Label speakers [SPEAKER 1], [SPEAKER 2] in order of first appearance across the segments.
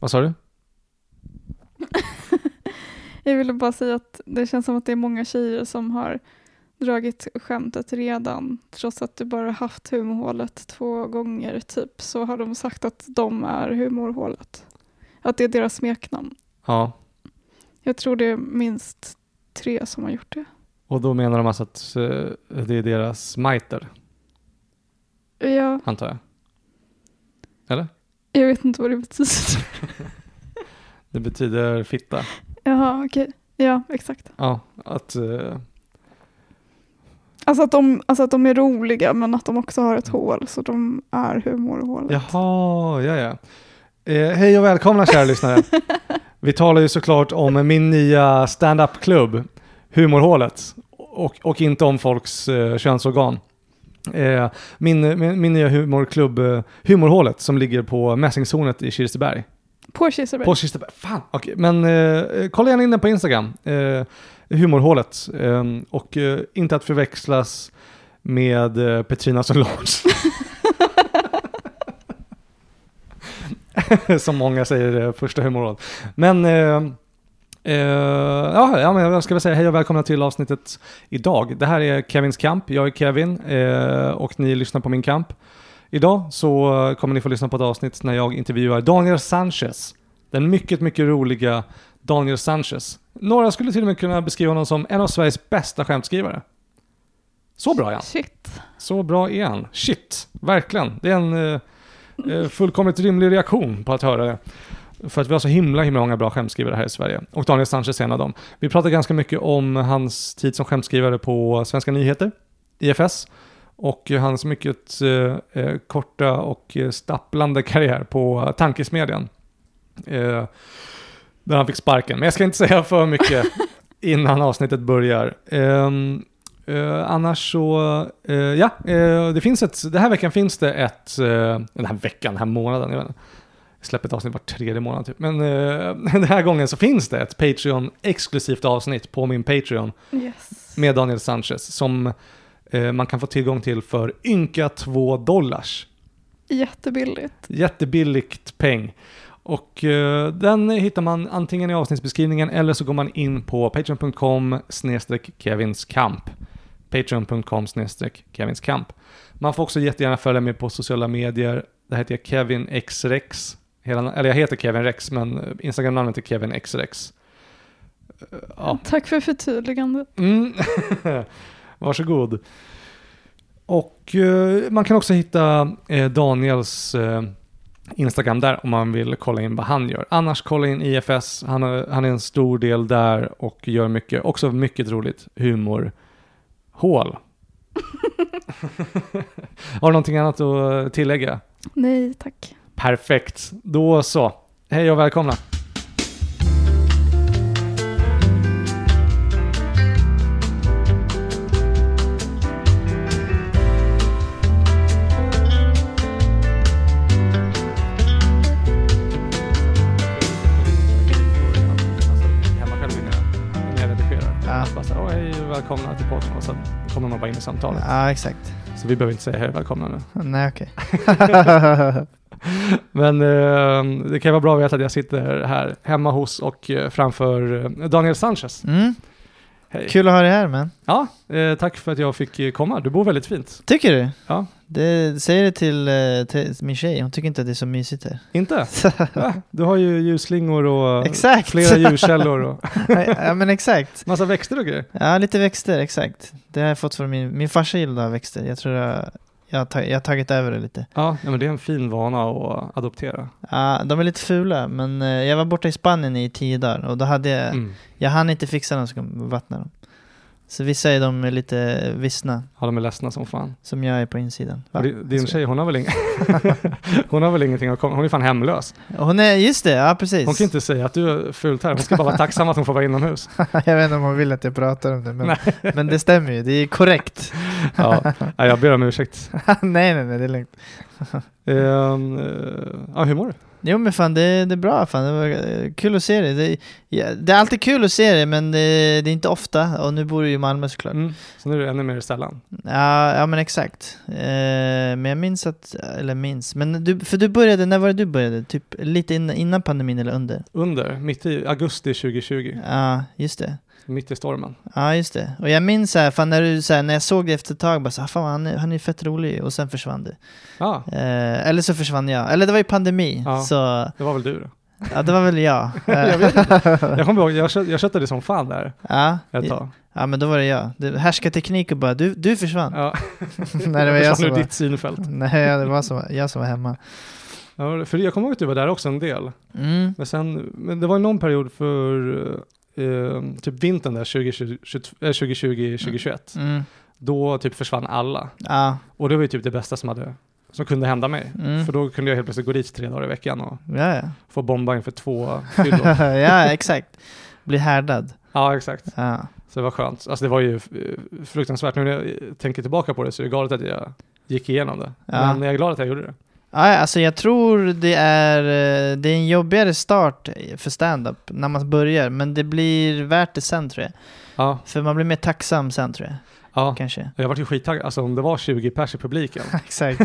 [SPEAKER 1] Vad sa du?
[SPEAKER 2] Jag ville bara säga att det känns som att det är många tjejer som har dragit skämtet redan. Trots att du bara haft humorhålet två gånger typ så har de sagt att de är humorhålet. Att det är deras smeknamn.
[SPEAKER 1] Ja.
[SPEAKER 2] Jag tror det är minst tre som har gjort det.
[SPEAKER 1] Och då menar de alltså att eh, det är deras miter,
[SPEAKER 2] Jag,
[SPEAKER 1] antar jag.
[SPEAKER 2] jag vet inte vad det betyder.
[SPEAKER 1] Det betyder fitta.
[SPEAKER 2] Jaha, okej. Ja, exakt.
[SPEAKER 1] Ja, att... eh,
[SPEAKER 2] Alltså att, de, alltså att de är roliga men att de också har ett hål så de är humorhålet.
[SPEAKER 1] Mm. Jaha, ja ja. Eh, hej och välkomna kära lyssnare. Vi talar ju såklart om min nya stand-up-klubb, Humorhålet, och, och inte om folks eh, könsorgan. Eh, min, min, min nya humorklubb, eh, Humorhålet, som ligger på Mässingshornet i Kirseberg.
[SPEAKER 2] På Kiseberg.
[SPEAKER 1] På Kirseberg, fan! Okej, men eh, kolla gärna in den på Instagram, eh, Humorhålet. Eh, och eh, inte att förväxlas med eh, Petrina Solange. som många säger eh, första humorråd. Men, eh, eh, ja, ja, men jag ska väl säga hej och välkomna till avsnittet idag. Det här är Kevins kamp, jag är Kevin eh, och ni lyssnar på min kamp. Idag så eh, kommer ni få lyssna på ett avsnitt när jag intervjuar Daniel Sanchez. Den mycket, mycket roliga Daniel Sanchez. Några skulle till och med kunna beskriva honom som en av Sveriges bästa skämtskrivare. Så bra är han.
[SPEAKER 2] Shit.
[SPEAKER 1] Så bra är han. Shit, verkligen. Det är en eh, eh, fullkomligt rimlig reaktion på att höra det. För att vi har så himla, himla många bra skämtskrivare här i Sverige. Och Daniel Sanchez är en av dem. Vi pratar ganska mycket om hans tid som skämtskrivare på Svenska nyheter, IFS, och hans mycket eh, eh, korta och eh, stapplande karriär på eh, Tankesmedjan. Eh, där han fick sparken. Men jag ska inte säga för mycket innan avsnittet börjar. Ehm, Eh, annars så, eh, ja, eh, det finns ett, den här veckan finns det ett, eh, den här veckan, den här månaden, jag vet inte. Jag släpper ett avsnitt var tredje månad typ. Men eh, den här gången så finns det ett Patreon-exklusivt avsnitt på min Patreon
[SPEAKER 2] Yes.
[SPEAKER 1] med Daniel Sanchez som eh, man kan få tillgång till för ynka 2 dollars.
[SPEAKER 2] Jättebilligt.
[SPEAKER 1] Jättebilligt peng. Och eh, den hittar man antingen i avsnittsbeskrivningen eller så går man in på patreon.com snedstreck kevinskamp. Patreon.com snedstreck kevinskamp. Man får också jättegärna följa mig på sociala medier. Där heter jag Kevin X Rex. Hela, eller jag heter Kevin Rex, men Instagram-namnet är Kevin X Rex. Eh, Ja.
[SPEAKER 2] Tack för förtydligandet.
[SPEAKER 1] Mm. Varsågod. Och eh, man kan också hitta eh, Daniels eh, Instagram där om man vill kolla in vad han gör. Annars kolla in IFS, han, har- han är en stor del där och gör mycket, också mycket roligt humorhål. Har du någonting annat att eh, tillägga?
[SPEAKER 2] Nej, tack.
[SPEAKER 1] Perfekt, då så. Hej och välkomna.
[SPEAKER 3] Ja.
[SPEAKER 1] Bara så här, "Åh, hej och välkomna till podden och så kommer man bara in i samtalet.
[SPEAKER 3] Ja, exakt.
[SPEAKER 1] Så vi behöver inte säga hej och välkomna nu.
[SPEAKER 3] Nej, okej.
[SPEAKER 1] Men eh, det kan vara bra att veta att jag sitter här hemma hos och eh, framför eh, Daniel Sanchez.
[SPEAKER 3] Mm.
[SPEAKER 1] Hej.
[SPEAKER 3] Kul att ha dig här, men.
[SPEAKER 1] Ja, eh, tack för att jag fick eh, komma. Du bor väldigt fint.
[SPEAKER 3] Tycker du?
[SPEAKER 1] Ja.
[SPEAKER 3] Det, säg det till, eh, till min tjej, hon tycker inte att det är så mysigt här.
[SPEAKER 1] Inte? Va? Du har ju ljusslingor och
[SPEAKER 3] Exakt!
[SPEAKER 1] flera ljuskällor och
[SPEAKER 3] ja, men exakt.
[SPEAKER 1] massa växter och grejer.
[SPEAKER 3] Ja, lite växter, exakt. Det har jag fått från min, min farsa gillar växter. Jag tror jag, jag, har tag, jag har tagit över det lite.
[SPEAKER 1] Ja, nej, men det är en fin vana att adoptera.
[SPEAKER 3] Ja, de är lite fula, men eh, jag var borta i Spanien i tio dagar och då hade jag,
[SPEAKER 1] Mm.
[SPEAKER 3] jag hann inte fixa dem så kom- vattna dem. Så vissa är de lite vissna,
[SPEAKER 1] Ja, de är ledsna som fan.
[SPEAKER 3] som jag är på insidan. Va?
[SPEAKER 1] Och di- Din tjej, hon har väl, ing- hon har väl ingenting att komma Hon är fan hemlös.
[SPEAKER 3] Hon är, just det, ja precis.
[SPEAKER 1] Hon kan inte säga att du är fult här. Hon ska bara vara tacksam att hon får vara inomhus.
[SPEAKER 3] jag vet inte om hon vill att jag pratar om det, men,
[SPEAKER 1] Nej.
[SPEAKER 3] men det stämmer ju. Det är korrekt.
[SPEAKER 1] Ja, nej, jag ber om ursäkt.
[SPEAKER 3] nej, nej, nej, det är lugnt.
[SPEAKER 1] Ehm, eh, ja, hur mår du?
[SPEAKER 3] Jo men fan det, det är bra, fan. det var eh, kul att se dig. Det, ja, det är alltid kul att se dig men det, det är inte ofta och nu bor du ju i Malmö såklart.
[SPEAKER 1] Mm. Så nu är det ännu mer sällan.
[SPEAKER 3] Ja, ja men exakt. Eh, men jag minns att, eller minns, men du, för du började, när var det du började? Typ lite innan, innan pandemin eller under?
[SPEAKER 1] Under, mitt i augusti 2020,
[SPEAKER 3] Ja, just det.
[SPEAKER 1] mitt i stormen.
[SPEAKER 3] Ja, just det. Och jag minns så här, fan när, du, så här, när jag såg det efter ett tag, bara så här, fan han är, han är ju fett rolig och sen försvann du.
[SPEAKER 1] Ah,
[SPEAKER 3] Eh, eller så försvann jag, eller det var ju pandemi,
[SPEAKER 1] Ja.
[SPEAKER 3] så
[SPEAKER 1] det var väl du då?
[SPEAKER 3] ja, det var väl jag. Eh,
[SPEAKER 1] jag vet inte. Jag kommer ihåg, jag, kö- jag köttade som fan där
[SPEAKER 3] ja,
[SPEAKER 1] ett tag.
[SPEAKER 3] ja, men då var det jag. Det, härskarteknik och bara, du, du försvann.
[SPEAKER 1] Ja.
[SPEAKER 3] Nej, det var
[SPEAKER 1] försvann
[SPEAKER 3] jag som
[SPEAKER 1] ur
[SPEAKER 3] var,
[SPEAKER 1] ditt synfält.
[SPEAKER 3] nej, det var som, jag som var hemma.
[SPEAKER 1] Ja, för jag kommer ihåg att du var där också en del.
[SPEAKER 3] Mm.
[SPEAKER 1] Men, sen, men det var någon period för eh, typ vintern där 2020, 2020 2021.
[SPEAKER 3] Mm.
[SPEAKER 1] eh, Då typ försvann alla.
[SPEAKER 3] Ja,
[SPEAKER 1] Och det var ju typ det bästa som, hade, som kunde hända mig.
[SPEAKER 3] mm.
[SPEAKER 1] För då kunde jag helt plötsligt gå dit tre dagar i veckan och
[SPEAKER 3] ja, ja.
[SPEAKER 1] få bomba inför två fyllor.
[SPEAKER 3] ja, exakt. Bli härdad.
[SPEAKER 1] ja, exakt.
[SPEAKER 3] Ja.
[SPEAKER 1] Så det var skönt. Alltså det var ju eh, fruktansvärt. Nu när jag eh, tänker tillbaka på det så är det galet att jag gick igenom det.
[SPEAKER 3] Ja.
[SPEAKER 1] Men jag är glad att jag gjorde det.
[SPEAKER 3] Ja, ja, alltså jag tror det är, eh, det är en jobbigare start för stand-up när man börjar, men det blir värt det sen tror jag.
[SPEAKER 1] Ja,
[SPEAKER 3] För man blir mer tacksam sen tror jag,
[SPEAKER 1] ja.
[SPEAKER 3] kanske.
[SPEAKER 1] Jag vart ju skittaggad. Alltså om det var 20 pers i publiken,
[SPEAKER 3] exakt.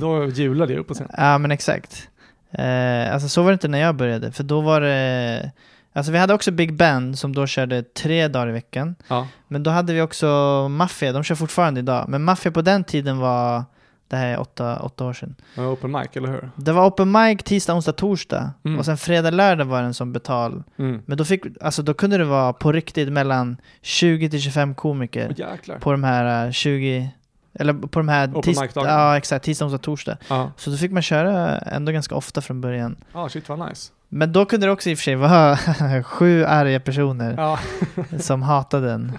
[SPEAKER 1] då jublade jag upp på scen.
[SPEAKER 3] Ja, men exakt. Eh, alltså så var det inte när jag började, för då var det... Alltså vi hade också Big Ben som då körde tre dagar i veckan.
[SPEAKER 1] Ja.
[SPEAKER 3] Men då hade vi också Mafia, de kör fortfarande idag. Men Mafia på den tiden var, det här är åtta, åtta år sedan.
[SPEAKER 1] Det var open mic, eller hur?
[SPEAKER 3] Det var open mic tisdag, onsdag, torsdag.
[SPEAKER 1] Mm.
[SPEAKER 3] Och sen fredag, lördag var den som betal.
[SPEAKER 1] Mm.
[SPEAKER 3] Men då, fick, alltså, då kunde det vara på riktigt mellan 20-25 komiker
[SPEAKER 1] Åh, jäklar.
[SPEAKER 3] på de här eh, 20... Eller på de här
[SPEAKER 1] Open
[SPEAKER 3] tis-
[SPEAKER 1] mic-dagarna.
[SPEAKER 3] ja, exakt, tisdag, onsdag, torsdag.
[SPEAKER 1] Ja,
[SPEAKER 3] Så då fick man köra ändå ganska ofta från början.
[SPEAKER 1] ah, shit vad nice.
[SPEAKER 3] Men då kunde det också i och för sig vara sju arga personer
[SPEAKER 1] Ja,
[SPEAKER 3] som hatade den.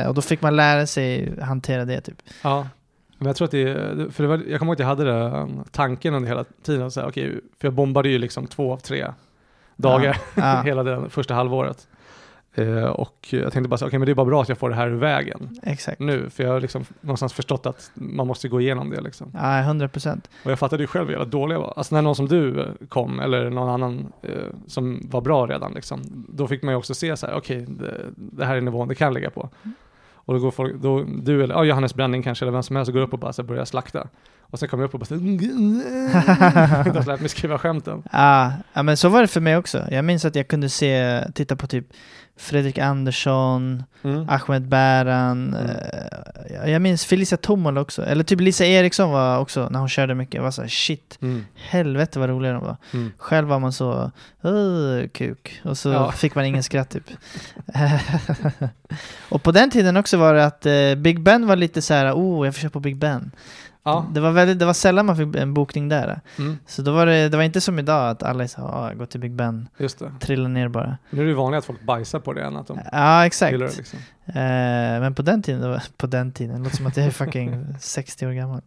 [SPEAKER 3] Eh, och då fick man lära sig hantera det typ.
[SPEAKER 1] ja. Men jag tror att det, för det var, jag kommer ihåg att jag hade den um, tanken under hela tiden, så här, okej, för jag bombade ju liksom två av tre dagar
[SPEAKER 3] Ja,
[SPEAKER 1] hela det första halvåret. Eh, och jag tänkte bara så här, okej men det är bara bra att jag får det här ur vägen
[SPEAKER 3] exakt.
[SPEAKER 1] nu, för jag har liksom någonstans förstått att man måste gå igenom det liksom.
[SPEAKER 3] Ja, 100 procent.
[SPEAKER 1] Och jag fattade ju själv hur jävla dålig jag var. Alltså när någon som du eh, kom, eller någon annan eh, som var bra redan, liksom, då fick man ju också se så här, okej, det, det här är nivån det kan jag ligga på.
[SPEAKER 3] Mm.
[SPEAKER 1] Och då går folk, då, du eller ja, Johannes Bränning kanske, eller vem som helst, går upp och bara så här, börjar slakta. Och sen kommer jag upp och bara så här, de har lärt mig skriva skämten.
[SPEAKER 3] Ja, ja, men så var det för mig också. Jag minns att jag kunde se, titta på typ Fredrik Andersson,
[SPEAKER 1] Mm.
[SPEAKER 3] Ahmed Bäran.
[SPEAKER 1] Mm.
[SPEAKER 3] eh, jag- jag minns Felicia Tomola också. Eller typ Lisa Eriksson var också, när hon körde mycket, jag var såhär shit,
[SPEAKER 1] Mm.
[SPEAKER 3] helvete vad roliga de var.
[SPEAKER 1] Mm.
[SPEAKER 3] Själv var man så, "Åh, kuk. Och så
[SPEAKER 1] Ja.
[SPEAKER 3] fick man ingen skratt typ. och på den tiden också var det att eh, Big Ben var lite så här, oh jag får köpa Big Ben.
[SPEAKER 1] Ja.
[SPEAKER 3] Det, var väldigt, det var sällan man fick en bokning där.
[SPEAKER 1] Mm.
[SPEAKER 3] Så då var det, det var inte som idag att alla sa, ah, gå till Big Ben,
[SPEAKER 1] Just det.
[SPEAKER 3] trilla ner bara.
[SPEAKER 1] Nu är det ju vanligt att folk bajsar på det än att de
[SPEAKER 3] Ja, exakt.
[SPEAKER 1] gillar det. Liksom.
[SPEAKER 3] Eh, men på den tiden, det var- på den tiden, det låter som att jag är fucking 60 år gammal.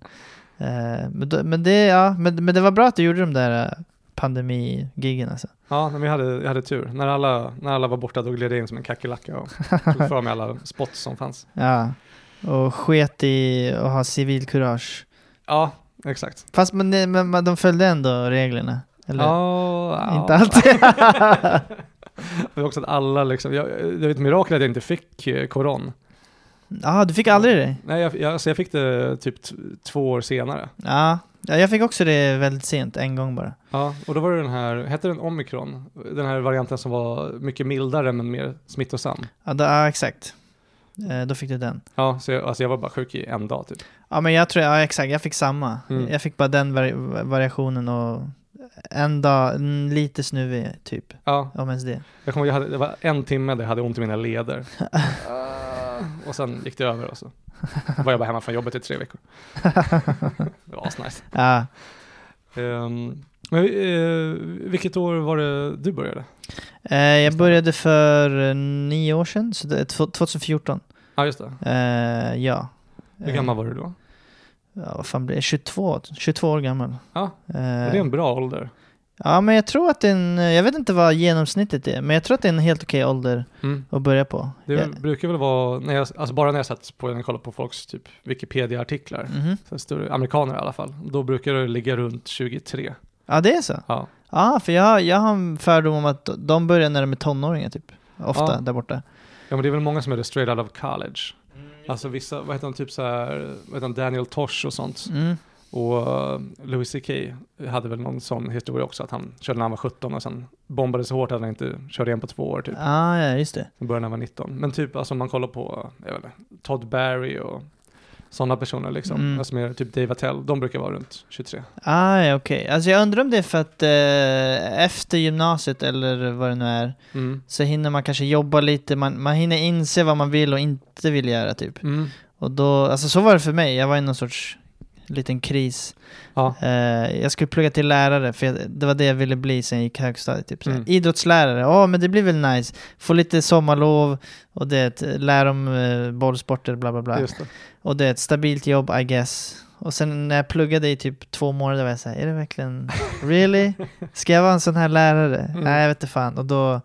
[SPEAKER 3] Eh, men, då, men, det, ja, men, men det var bra att du gjorde de där eh, pandemigiggen alltså.
[SPEAKER 1] Ja, men jag hade, jag hade tur. När alla, när alla var borta då gled jag in som en kackerlacka och tog för mig alla spots som fanns.
[SPEAKER 3] Ja. Och sket i att ha civilkurage.
[SPEAKER 1] Ja, exakt.
[SPEAKER 3] Fast men, det- men, men de följde ändå reglerna. Eller?
[SPEAKER 1] Ja,
[SPEAKER 3] Inte
[SPEAKER 1] ja.
[SPEAKER 3] alltid.
[SPEAKER 1] Det var också att alla liksom, jag, det var ett mirakel att jag inte fick eh, koron.
[SPEAKER 3] Ja, du fick aldrig det?
[SPEAKER 1] Nej, jag, jag, alltså jag fick det typ t- två år senare.
[SPEAKER 3] Ja. ja, jag fick också det väldigt sent, en gång bara.
[SPEAKER 1] Ja, och då var det den här, hette den omikron? Den här varianten som var mycket mildare men mer smittosam.
[SPEAKER 3] Ja, då, ja exakt. Eh, då fick du den.
[SPEAKER 1] Ja, så jag, alltså jag var bara sjuk i en dag typ.
[SPEAKER 3] Ja, men jag tror, ja exakt, jag fick samma.
[SPEAKER 1] Mm.
[SPEAKER 3] Jag fick bara den vari- variationen och en dag, mm, lite snuvig typ,
[SPEAKER 1] Ja,
[SPEAKER 3] om ens det.
[SPEAKER 1] jag kommer ihåg, jag hade, det var en timme där jag hade ont i mina leder. Ah, och sen gick det över och så var jag bara hemma från jobbet i tre veckor. Det var asnice.
[SPEAKER 3] Ja,
[SPEAKER 1] Ehm, men eh, vilket år var det du började?
[SPEAKER 3] eh, jag började för eh, nio år sedan, så det är tw- 2014.
[SPEAKER 1] Ja, just det.
[SPEAKER 3] Eh, ja.
[SPEAKER 1] Hur gammal var du då?
[SPEAKER 3] du? Ja, vad fan blir det? 22, 22 år gammal.
[SPEAKER 1] Ja,
[SPEAKER 3] Eh,
[SPEAKER 1] Det är en bra ålder.
[SPEAKER 3] ja, men jag tror att det är en, jag vet inte vad genomsnittet är, men jag tror att det är en helt okej ålder att börja på.
[SPEAKER 1] Det
[SPEAKER 3] Ja.
[SPEAKER 1] brukar väl vara, när jag, alltså bara när jag satt på och kollade på folks typ Wikipedia-artiklar,
[SPEAKER 3] Mhm.
[SPEAKER 1] så här större, amerikaner i alla fall, då brukar det ligga runt 23.
[SPEAKER 3] Ja, det är så?
[SPEAKER 1] Ja.
[SPEAKER 3] Ja, för jag, jag har en fördom om att de börjar när de är tonåringar typ. Ofta
[SPEAKER 1] Ja.
[SPEAKER 3] där borta.
[SPEAKER 1] Ja men det är väl många som är det straight out of college. Alltså vissa, vad heter han, typ så här, vad heter han, Daniel Tosh och sånt.
[SPEAKER 3] Mm.
[SPEAKER 1] Och eh, Louis CK hade väl någon sån historia också, att han körde när han var 17 och sen bombade så hårt att han inte körde igen på två år typ.
[SPEAKER 3] Ah, ja, just det.
[SPEAKER 1] Sen började när han var 19. Men typ, alltså om man kollar på, jag vet inte, Todd Barry och sådana personer liksom.
[SPEAKER 3] Mm.
[SPEAKER 1] Alltså mer typ Dave Attell, de brukar vara runt 23.
[SPEAKER 3] Ah, ja, okej. Alltså jag undrar om det är för att eh, efter gymnasiet eller vad det nu är
[SPEAKER 1] Mm.
[SPEAKER 3] så hinner man kanske jobba lite, man, man hinner inse vad man vill och inte vill göra typ.
[SPEAKER 1] Mm.
[SPEAKER 3] Och då, alltså så var det för mig, jag var i någon sorts liten kris.
[SPEAKER 1] Ja.
[SPEAKER 3] Eh, jag skulle plugga till lärare, för jag, det var det jag ville bli sen jag gick högstadiet. Typ. såhär.
[SPEAKER 1] Mm.
[SPEAKER 3] Idrottslärare, ja men det blir väl nice. Få lite sommarlov och det, lära om eh, bollsporter, bla bla bla.
[SPEAKER 1] Just det.
[SPEAKER 3] Och det är ett stabilt jobb, I guess. Och sen när jag pluggade i typ två månader var jag såhär, är det verkligen, really? Ska jag vara en sån här lärare?
[SPEAKER 1] Mm.
[SPEAKER 3] Nej, jag vet inte fan. Och då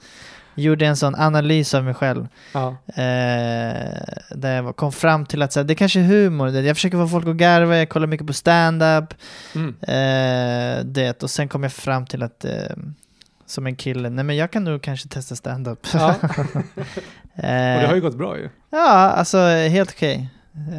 [SPEAKER 3] gjorde jag en sån analys av mig själv.
[SPEAKER 1] Ja.
[SPEAKER 3] Eh, där jag var- kom fram till att så här, det kanske är humor. Det- Jag försöker få folk att garva, jag kollar mycket på stand-up.
[SPEAKER 1] Mm.
[SPEAKER 3] Eh, det, och sen kom jag fram till att, eh, som en kille, nej men jag kan nog kanske testa stand-up.
[SPEAKER 1] ja. Och det
[SPEAKER 3] eh,
[SPEAKER 1] har ju gått bra ju.
[SPEAKER 3] Ja, alltså helt okej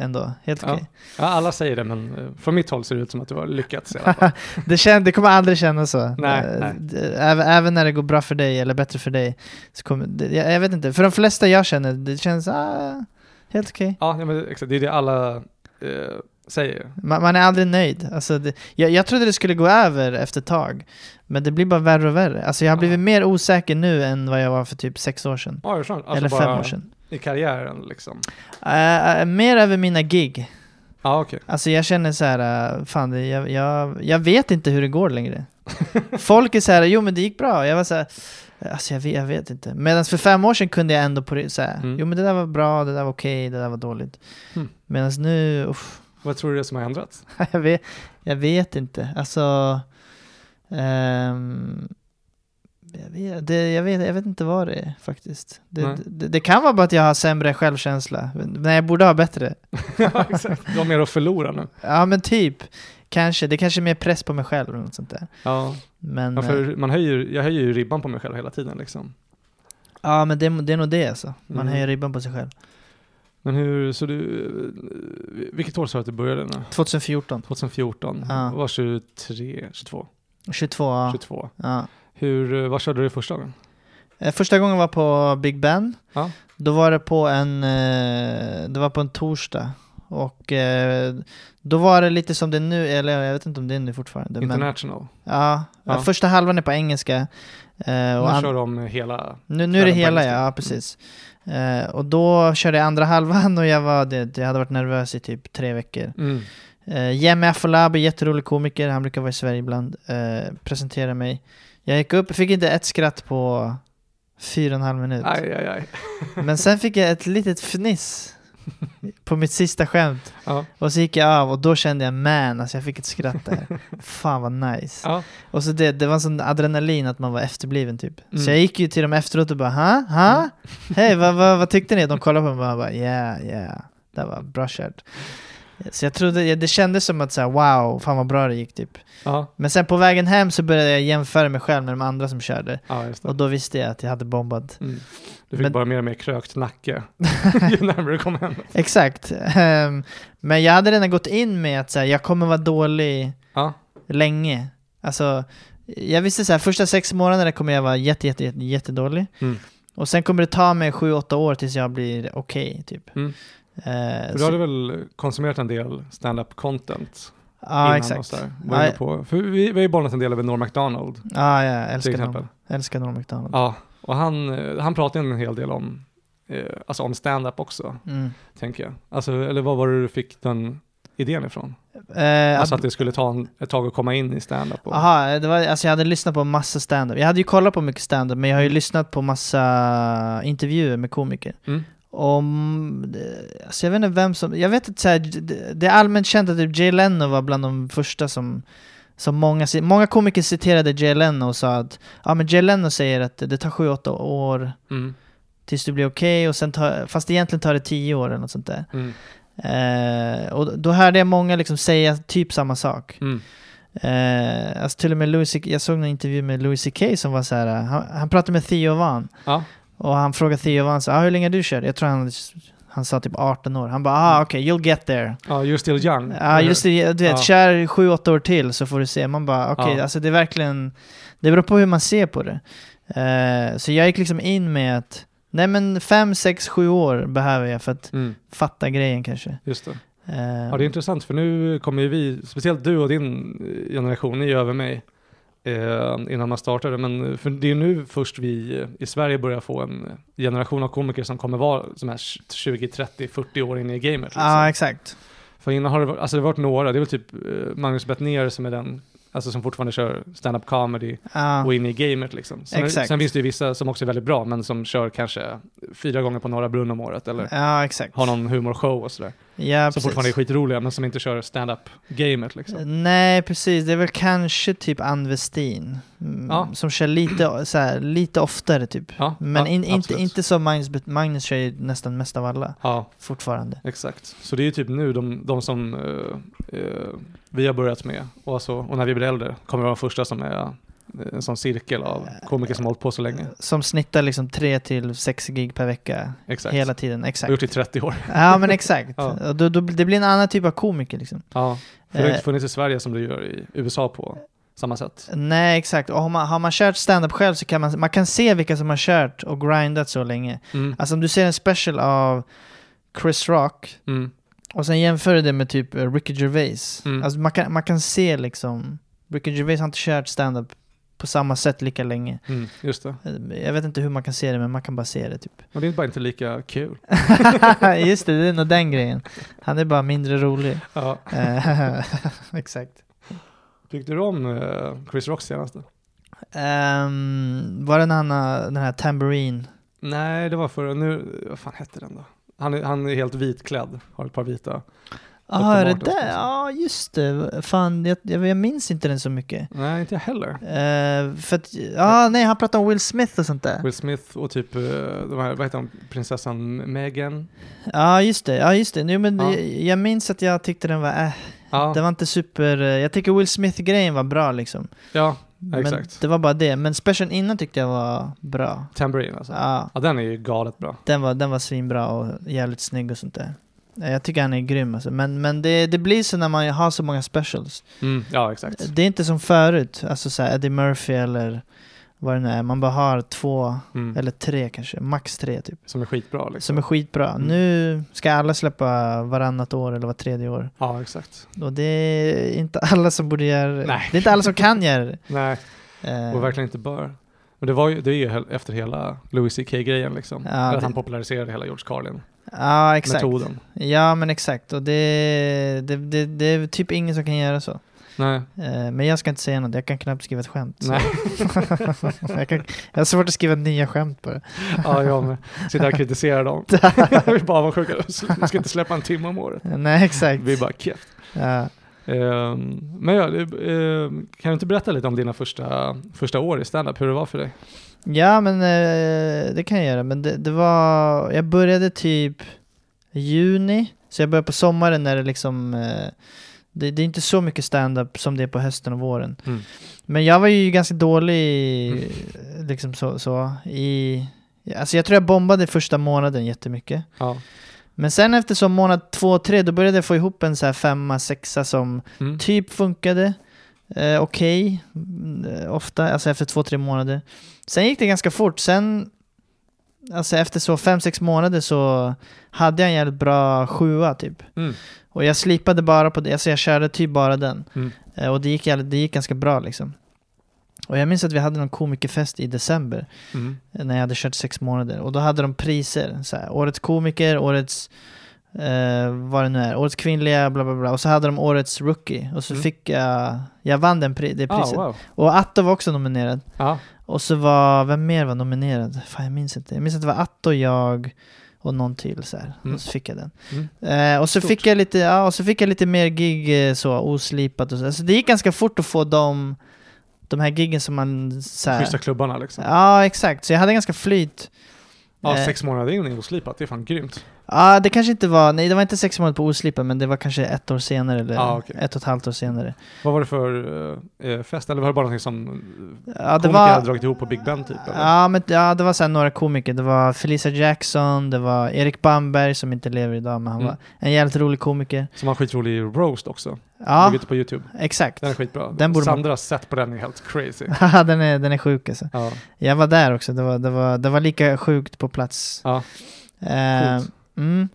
[SPEAKER 3] ändå. Helt
[SPEAKER 1] Ja.
[SPEAKER 3] okej.
[SPEAKER 1] Ja, alla säger det, men eh, från mitt håll ser det ut som att du har lyckats i alla fall.
[SPEAKER 3] Det, kän, det kommer aldrig kännas så.
[SPEAKER 1] Nej,
[SPEAKER 3] Eh,
[SPEAKER 1] nej.
[SPEAKER 3] d- Även, även när det går bra för dig eller bättre för dig. Så kommer, det, jag, jag vet inte, för de flesta jag känner, det känns ah, helt okej.
[SPEAKER 1] Ja, ja, men exakt. Det är det alla eh, säger.
[SPEAKER 3] Man, man är aldrig nöjd. Alltså det, jag, jag trodde det skulle gå över efter ett tag, men det blir bara värre och värre. Alltså jag har blivit
[SPEAKER 1] Ja.
[SPEAKER 3] mer osäker nu än vad jag var för typ sex år sedan.
[SPEAKER 1] Ja, det är sant. Alltså
[SPEAKER 3] eller
[SPEAKER 1] bara
[SPEAKER 3] fem år sedan.
[SPEAKER 1] I karriären liksom.
[SPEAKER 3] Eh, eh, mer över mina gig.
[SPEAKER 1] Ja, okej.
[SPEAKER 3] Alltså jag känner så här, eh, fan det, jag, jag, jag vet inte hur det går längre. Folk är så här, jo men det gick bra. Jag var så här, alltså jag vet, jag vet inte. Medan för fem år sedan kunde jag ändå på det, så här,
[SPEAKER 1] Mm.
[SPEAKER 3] jo men det där var bra, det där var okej, det där var dåligt.
[SPEAKER 1] Mm.
[SPEAKER 3] Medan nu, uff,
[SPEAKER 1] Vad tror du det är som har ändrats?
[SPEAKER 3] jag, vet, jag vet inte. Alltså... ehm, jag, vet, det, jag, vet, jag vet inte vad det är faktiskt. Det,
[SPEAKER 1] Nej.
[SPEAKER 3] det, det kan vara bara att jag har sämre självkänsla. Nej, jag borde ha bättre.
[SPEAKER 1] ja, exakt. Du har mer att förlora nu.
[SPEAKER 3] Ja, men typ. Kanske. Det kanske är mer press på mig själv eller något sånt där.
[SPEAKER 1] Ja,
[SPEAKER 3] Men,
[SPEAKER 1] ja,
[SPEAKER 3] eh,
[SPEAKER 1] för man höjer, jag höjer ju ribban på mig själv hela tiden liksom.
[SPEAKER 3] ja, men det, det är nog det alltså. Man
[SPEAKER 1] Mm.
[SPEAKER 3] höjer ribban på sig själv.
[SPEAKER 1] Men hur, så du, eh, vilket år sa du att du började nu?
[SPEAKER 3] 2014.
[SPEAKER 1] 2014,
[SPEAKER 3] Ja.
[SPEAKER 1] var 23, 22,
[SPEAKER 3] 22. ja.
[SPEAKER 1] 22.
[SPEAKER 3] Ja.
[SPEAKER 1] Hur, eh, vad körde du första gången?
[SPEAKER 3] Eh, Första gången var på Big Ben.
[SPEAKER 1] Ja.
[SPEAKER 3] Då var det på en, eh, det var på en torsdag. Och eh, då var det lite som det är nu, eller jag vet inte om det är nu fortfarande. Men,
[SPEAKER 1] International?
[SPEAKER 3] ja, eh,
[SPEAKER 1] Ja.
[SPEAKER 3] Första halvan är på engelska. Eh, och
[SPEAKER 1] Nu
[SPEAKER 3] an-
[SPEAKER 1] kör de hela,
[SPEAKER 3] nu, nu är det
[SPEAKER 1] kvällen på
[SPEAKER 3] hela
[SPEAKER 1] engelska. Mm.
[SPEAKER 3] ja, precis. Eh, och då körde jag andra halvan och jag, var, det, jag hade varit nervös i typ tre veckor.
[SPEAKER 1] mm.
[SPEAKER 3] Eh, Jemmy Afolabi, jätterolig komiker, han brukar vara i Sverige ibland, eh, presenterade mig. Jag gick upp, fick inte ett skratt på fyra och en halv minut.
[SPEAKER 1] aj, aj, aj.
[SPEAKER 3] Men sen fick jag ett litet fniss på mitt sista skämt.
[SPEAKER 1] Ja,
[SPEAKER 3] Och så gick jag av och då kände jag man, alltså jag fick ett skratt där. Fan vad nice.
[SPEAKER 1] ja.
[SPEAKER 3] Och så det, det var en sån adrenalin att man var efterbliven typ. Så
[SPEAKER 1] Mm.
[SPEAKER 3] jag gick ju till dem efteråt och bara ha, ha, hej vad, vad, vad tyckte ni? De kollade på mig och bara, bara yeah, yeah. Det var bra kört. Så jag trodde, det kändes som att säga wow, fan vad bra det gick typ.
[SPEAKER 1] ja.
[SPEAKER 3] Men sen på vägen hem så började jag jämföra mig själv med de andra som körde.
[SPEAKER 1] ja just det.
[SPEAKER 3] Och då visste jag att jag hade bombat.
[SPEAKER 1] Mm. Du fick
[SPEAKER 3] Men-
[SPEAKER 1] bara mer och mer krökt nacke ju närmare du kom hem.
[SPEAKER 3] Exakt. Ehm, men jag hade redan gått in med att så här, jag kommer vara dålig
[SPEAKER 1] Ja.
[SPEAKER 3] länge. Alltså, jag visste så här, första sex månaderna kommer jag vara jätte, jätte, jätte, jättedålig.
[SPEAKER 1] Mm.
[SPEAKER 3] Och sen kommer det ta mig sju, åtta år tills jag blir okej, typ.
[SPEAKER 1] Mm.
[SPEAKER 3] Ehm,
[SPEAKER 1] För du
[SPEAKER 3] så-
[SPEAKER 1] hade väl konsumerat en del stand-up content
[SPEAKER 3] ja,
[SPEAKER 1] innan och
[SPEAKER 3] exakt.
[SPEAKER 1] så här. Var
[SPEAKER 3] Ja,
[SPEAKER 1] inne på. För vi, vi har ju bollat en del över Norm MacDonald
[SPEAKER 3] Ja, ja, jag
[SPEAKER 1] till
[SPEAKER 3] älskar
[SPEAKER 1] exempel.
[SPEAKER 3] Norm. Älskar Norm MacDonald.
[SPEAKER 1] Ja, och han, eh, han pratade en hel del om, eh, alltså om stand-up också,
[SPEAKER 3] Mm.
[SPEAKER 1] tänker jag. Alltså, eller vad var det du fick den idén ifrån?
[SPEAKER 3] Ehm,
[SPEAKER 1] Alltså att det skulle ta en, ett tag att komma in i stand-up. Och,
[SPEAKER 3] Aha, det var, alltså jag hade lyssnat på massa stand-up. Jag hade ju kollat på mycket stand-up, men jag har ju lyssnat på massa eh, intervjuer med komiker.
[SPEAKER 1] Mm.
[SPEAKER 3] Om, det- alltså jag vet inte vem som, jag vet att så här, det- det är allmänt känt att typ Jay Leno var bland de första som, som många, ci- många komiker citerade Jay Leno och sa att, ja men Jay Leno säger att det tar 7-8 år
[SPEAKER 1] Mm,
[SPEAKER 3] tills du blir okej, och sen tar, fast egentligen tar det 10 år eller något sånt där.
[SPEAKER 1] mm,
[SPEAKER 3] Eh, och då hörde jag många liksom säga typ samma sak.
[SPEAKER 1] mm.
[SPEAKER 3] Eh, Eh, alltså till och med Louis, C- jag såg en intervju med Louis CK som var så här, eh, han, han pratade med Theo Van
[SPEAKER 1] Ja.
[SPEAKER 3] och han frågade Theo Van så, ah, hur länge har du kört? Jag tror han, han sa typ 18 år. Han bara, ah okej, you'll get there.
[SPEAKER 1] Ja, you're still young.
[SPEAKER 3] Ja, just det. Du vet,
[SPEAKER 1] Mm. Ja.
[SPEAKER 3] kör sju, åtta år till så får du se. Man bara, okej,
[SPEAKER 1] Ja.
[SPEAKER 3] alltså det är verkligen... Det beror på hur man ser på det. Eh, så jag gick liksom in med att, nej men fem, sex, sju år behöver jag för att
[SPEAKER 1] Mm,
[SPEAKER 3] fatta grejen kanske.
[SPEAKER 1] just det.
[SPEAKER 3] Eh,
[SPEAKER 1] Ja, det är intressant för nu kommer ju vi, speciellt du och din eh, generation, ni är ju över mig eh, innan man startade, men eh, för det är ju nu först vi eh, i Sverige börjar få en generation av komiker som kommer vara som här 20, 30, 40 år inne i gamet. Liksom.
[SPEAKER 3] Eh, Ja, exakt.
[SPEAKER 1] För innan har det, varit- alltså det har varit några, det är väl typ eh, Magnus Bettner som är den, alltså som fortfarande kör stand-up comedy
[SPEAKER 3] Ja,
[SPEAKER 1] och inne i gamet liksom. Sen,
[SPEAKER 3] Exakt.
[SPEAKER 1] sen finns det ju vissa som också är väldigt bra, men som kör kanske fyra gånger på Norra Brunn om året eller
[SPEAKER 3] ja exakt.
[SPEAKER 1] har någon humorshow och sådär.
[SPEAKER 3] ja,
[SPEAKER 1] som
[SPEAKER 3] precis.
[SPEAKER 1] fortfarande är skitroliga, men som inte kör stand-up-gamet liksom.
[SPEAKER 3] Eh, Nej, precis. Det är väl kanske typ Ann Westin. mm,
[SPEAKER 1] Ja.
[SPEAKER 3] Som kör lite, så här, lite oftare typ.
[SPEAKER 1] Ja,
[SPEAKER 3] Men
[SPEAKER 1] ja,
[SPEAKER 3] in, inte,
[SPEAKER 1] absolut.
[SPEAKER 3] inte som Magnus, Bet- Magnus kör ju nästan mest av alla
[SPEAKER 1] Ja,
[SPEAKER 3] fortfarande.
[SPEAKER 1] exakt. Så det är ju typ nu de, de som eh, eh, vi har börjat med och, alltså, och när vi blir äldre kommer vara de första som är eh, en sån cirkel av komiker som har hållit på så länge.
[SPEAKER 3] Eh, Som snittar liksom 3 till 6 gig per vecka
[SPEAKER 1] Exakt.
[SPEAKER 3] hela tiden.
[SPEAKER 1] har gjort
[SPEAKER 3] Exakt.
[SPEAKER 1] det i 30 år.
[SPEAKER 3] Ja men exakt.
[SPEAKER 1] Ja.
[SPEAKER 3] Och Då, då, det blir en annan typ av komiker liksom.
[SPEAKER 1] Ja, för det har ju
[SPEAKER 3] Eh.
[SPEAKER 1] inte funnits i Sverige som det gör i USA på samma sätt.
[SPEAKER 3] Nej exakt. Och har man, har man kört stand-up själv så kan man, man kan se vilka som har kört och grindat så länge.
[SPEAKER 1] Mm,
[SPEAKER 3] Alltså om du ser en special av Chris Rock
[SPEAKER 1] mm,
[SPEAKER 3] och sen jämför du det med typ eh, Ricky Gervais.
[SPEAKER 1] Mm.
[SPEAKER 3] Alltså man kan, man kan se liksom, Ricky Gervais har inte kört stand-up på samma sätt lika länge.
[SPEAKER 1] mm, just det.
[SPEAKER 3] Eh, Jag vet inte hur man kan se det men man kan bara se det typ.
[SPEAKER 1] Men det är bara inte lika kul.
[SPEAKER 3] Just det, det är nog den grejen. Han är bara mindre rolig.
[SPEAKER 1] Ja.
[SPEAKER 3] Eh, Exakt.
[SPEAKER 1] Tyckte du om eh, Chris Rocks senaste?
[SPEAKER 3] Ehm, var det när han, har- den här Tambourine?
[SPEAKER 1] Nej, det var förra, nu, vad fan hette den då? Han är, han är helt vitklädd, har ett par vita.
[SPEAKER 3] Ja, Ah, är det
[SPEAKER 1] Martins,
[SPEAKER 3] där?
[SPEAKER 1] liksom.
[SPEAKER 3] Ja, just det. Fan, jag, jag, jag minns inte den så mycket.
[SPEAKER 1] Nej, inte jag heller.
[SPEAKER 3] Eh, för att, ja, nej, han pratade om Will Smith och sånt där. Ja,
[SPEAKER 1] Will Smith och typ, eh, de här, vad heter hon, prinsessan Meghan?
[SPEAKER 3] just det. Ja, just det. Nu, men
[SPEAKER 1] Ja.
[SPEAKER 3] jag, jag minns att jag tyckte den var, eh,
[SPEAKER 1] Ja,
[SPEAKER 3] den var inte super... eh, Jag tycker Will Smith-grejen var bra liksom.
[SPEAKER 1] ja
[SPEAKER 3] Men
[SPEAKER 1] exakt.
[SPEAKER 3] det var bara det. Men specialen innan tyckte jag var bra.
[SPEAKER 1] Tambourine alltså.
[SPEAKER 3] Ja.
[SPEAKER 1] Ja, den är ju galet bra.
[SPEAKER 3] Den var, den var svinbra och jävligt snygg och sånt där. Eh, Jag tycker han är grym alltså. Men, men det, det blir så när man har så många specials.
[SPEAKER 1] Mm, ja, exakt.
[SPEAKER 3] Det är inte som förut, alltså så här Eddie Murphy eller vad det nu är. Man bara har två
[SPEAKER 1] Mm,
[SPEAKER 3] eller tre kanske, max tre typ.
[SPEAKER 1] som är skitbra liksom.
[SPEAKER 3] Som är skitbra.
[SPEAKER 1] Mm.
[SPEAKER 3] Nu ska alla släppa varannat år eller var tredje år.
[SPEAKER 1] Ja, exakt.
[SPEAKER 3] Och det är inte alla som borde göra
[SPEAKER 1] Nej.
[SPEAKER 3] det. är inte alla som kan göra det.
[SPEAKER 1] Nej,
[SPEAKER 3] Eh,
[SPEAKER 1] och verkligen inte bör. Men det, var ju, det är ju he- efter hela Louis CK-grejen liksom.
[SPEAKER 3] Ja,
[SPEAKER 1] Eller att
[SPEAKER 3] det-
[SPEAKER 1] han populariserade hela George Carlin-metoden.
[SPEAKER 3] Ja, exakt. Ja, men exakt. Och det, det, det, det är typ ingen som kan göra så.
[SPEAKER 1] Nej,
[SPEAKER 3] Eh, Men jag ska inte säga något, jag kan knappt skriva ett skämt. så.
[SPEAKER 1] nej.
[SPEAKER 3] jag, kan, jag har svårt att skriva nya skämt på det.
[SPEAKER 1] Ja, jag med. Sitter här och kritiserar dem. Vi är bara avundsjuka. Vi ska inte släppa en timme om året.
[SPEAKER 3] Nej, exakt.
[SPEAKER 1] Vi är bara kef.
[SPEAKER 3] Ja.
[SPEAKER 1] Ehm, men ja, det- ehm, kan du inte berätta lite om dina första, första år i standup, hur det var för dig?
[SPEAKER 3] ja, men eh, det kan jag göra. Men det, det var, jag började typ juni, så jag började på sommaren när det liksom, eh, det, det är inte så mycket stand-up som det är på hösten och våren.
[SPEAKER 1] Mm.
[SPEAKER 3] Men jag var ju ganska dålig, i- liksom så, så i, alltså jag tror jag bombade första månaden jättemycket.
[SPEAKER 1] Ja.
[SPEAKER 3] Men sen efter så månad två, tre, då började jag få ihop en så här femma, sexa som
[SPEAKER 1] Mm.
[SPEAKER 3] typ funkade. Eh, Okej, mm, eh, ofta, alltså efter två, tre månader. Sen gick det ganska fort. Sen, alltså efter så fem, sex månader så hade jag en jävligt bra sjua typ.
[SPEAKER 1] Mm.
[SPEAKER 3] Och jag slipade bara på det, alltså jag körde typ bara den.
[SPEAKER 1] Mm.
[SPEAKER 3] Eh, och det gick, jävligt- det gick ganska bra liksom. Och jag minns att vi hade någon komikerfest i december
[SPEAKER 1] Mm.
[SPEAKER 3] när jag hade kört sex månader. Och då hade de priser. Så här, årets komiker, årets eh, vad det nu är, årets kvinnliga, bla bla bla. Och så hade de årets rookie. Och så
[SPEAKER 1] Mm.
[SPEAKER 3] fick jag, jag vann den pri- det
[SPEAKER 1] Ah,
[SPEAKER 3] priset.
[SPEAKER 1] wow.
[SPEAKER 3] Och Atto var också nominerad.
[SPEAKER 1] Ja,
[SPEAKER 3] Och så var, vem mer var nominerad? Fan jag minns inte. Jag minns att det var Atto, jag och någon till så här.
[SPEAKER 1] Mm.
[SPEAKER 3] Och så fick jag den.
[SPEAKER 1] Mm.
[SPEAKER 3] Eh, och, så
[SPEAKER 1] Stort.
[SPEAKER 3] fick jag lite, ja, och så fick jag lite mer gig eh, så, oslipat och så. Alltså, det gick ganska fort att få de, de här giggen som man så här,
[SPEAKER 1] schyssta klubbarna liksom.
[SPEAKER 3] Ja, exakt. Så jag hade ganska flyt.
[SPEAKER 1] Ja,
[SPEAKER 3] Eh,
[SPEAKER 1] sex månader in är oslipat, det är fan grymt.
[SPEAKER 3] ah, det kanske inte var, nej det var inte sex månader på oslipen men det var kanske ett år senare eller
[SPEAKER 1] Ah, okej.
[SPEAKER 3] ett och ett halvt år senare.
[SPEAKER 1] Vad var det för eh, fest? Eller var det bara någonting som eh,
[SPEAKER 3] Ja, det
[SPEAKER 1] komiker
[SPEAKER 3] var,
[SPEAKER 1] hade dragit ihop på Big Ben typ? Eller?
[SPEAKER 3] ja, men, ja, det var så här några komiker. Det var Felicia Jackson, det var Erik Bamberg som inte lever idag men han
[SPEAKER 1] Mm.
[SPEAKER 3] var en jävligt rolig komiker.
[SPEAKER 1] Som har en skitrolig roast också.
[SPEAKER 3] Ja,
[SPEAKER 1] Ligger ute på YouTube.
[SPEAKER 3] exakt.
[SPEAKER 1] Den är skitbra.
[SPEAKER 3] Den borde man-
[SPEAKER 1] Sandra har sett på den är helt crazy.
[SPEAKER 3] Haha, den, är, den är sjuk alltså.
[SPEAKER 1] Ja.
[SPEAKER 3] Jag var där också, det var, det var, det var lika sjukt på plats.
[SPEAKER 1] Ja.
[SPEAKER 3] Eh,
[SPEAKER 1] Coolt.
[SPEAKER 3] mm.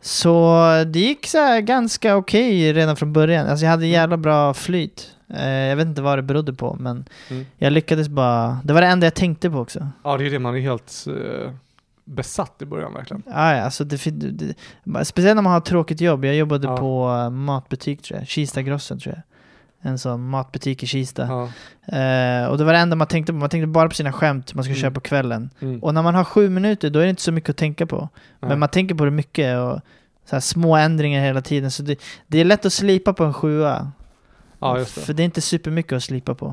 [SPEAKER 3] Så det gick så här ganska okej redan från början. Alltså jag hade
[SPEAKER 1] Mm.
[SPEAKER 3] jävla bra flyt. Eh, jag vet inte vad det berodde på, men
[SPEAKER 1] Mm.
[SPEAKER 3] jag lyckades bara... Det var det enda jag tänkte på också.
[SPEAKER 1] ja, det är det. Man är helt eh, besatt i början verkligen.
[SPEAKER 3] Ah, ja, alltså det, fin- det, det, speciellt när man har ett tråkigt jobb. Jag jobbade
[SPEAKER 1] Ja.
[SPEAKER 3] på eh, matbutik tror jag, Kista-grossen tror jag. En sån matbutik i Kista.
[SPEAKER 1] Ja.
[SPEAKER 3] Eh, och det var det enda man tänkte på. Man tänkte bara på sina skämt man skulle
[SPEAKER 1] Mm.
[SPEAKER 3] köra på kvällen.
[SPEAKER 1] Mm.
[SPEAKER 3] Och när man har sju minuter då är det inte så mycket att tänka på.
[SPEAKER 1] Nej.
[SPEAKER 3] Men man tänker på det mycket och så här små ändringar hela tiden. Så det, det är lätt att slipa på en sjua.
[SPEAKER 1] ja, just det.
[SPEAKER 3] För det är inte supermycket att slipa på.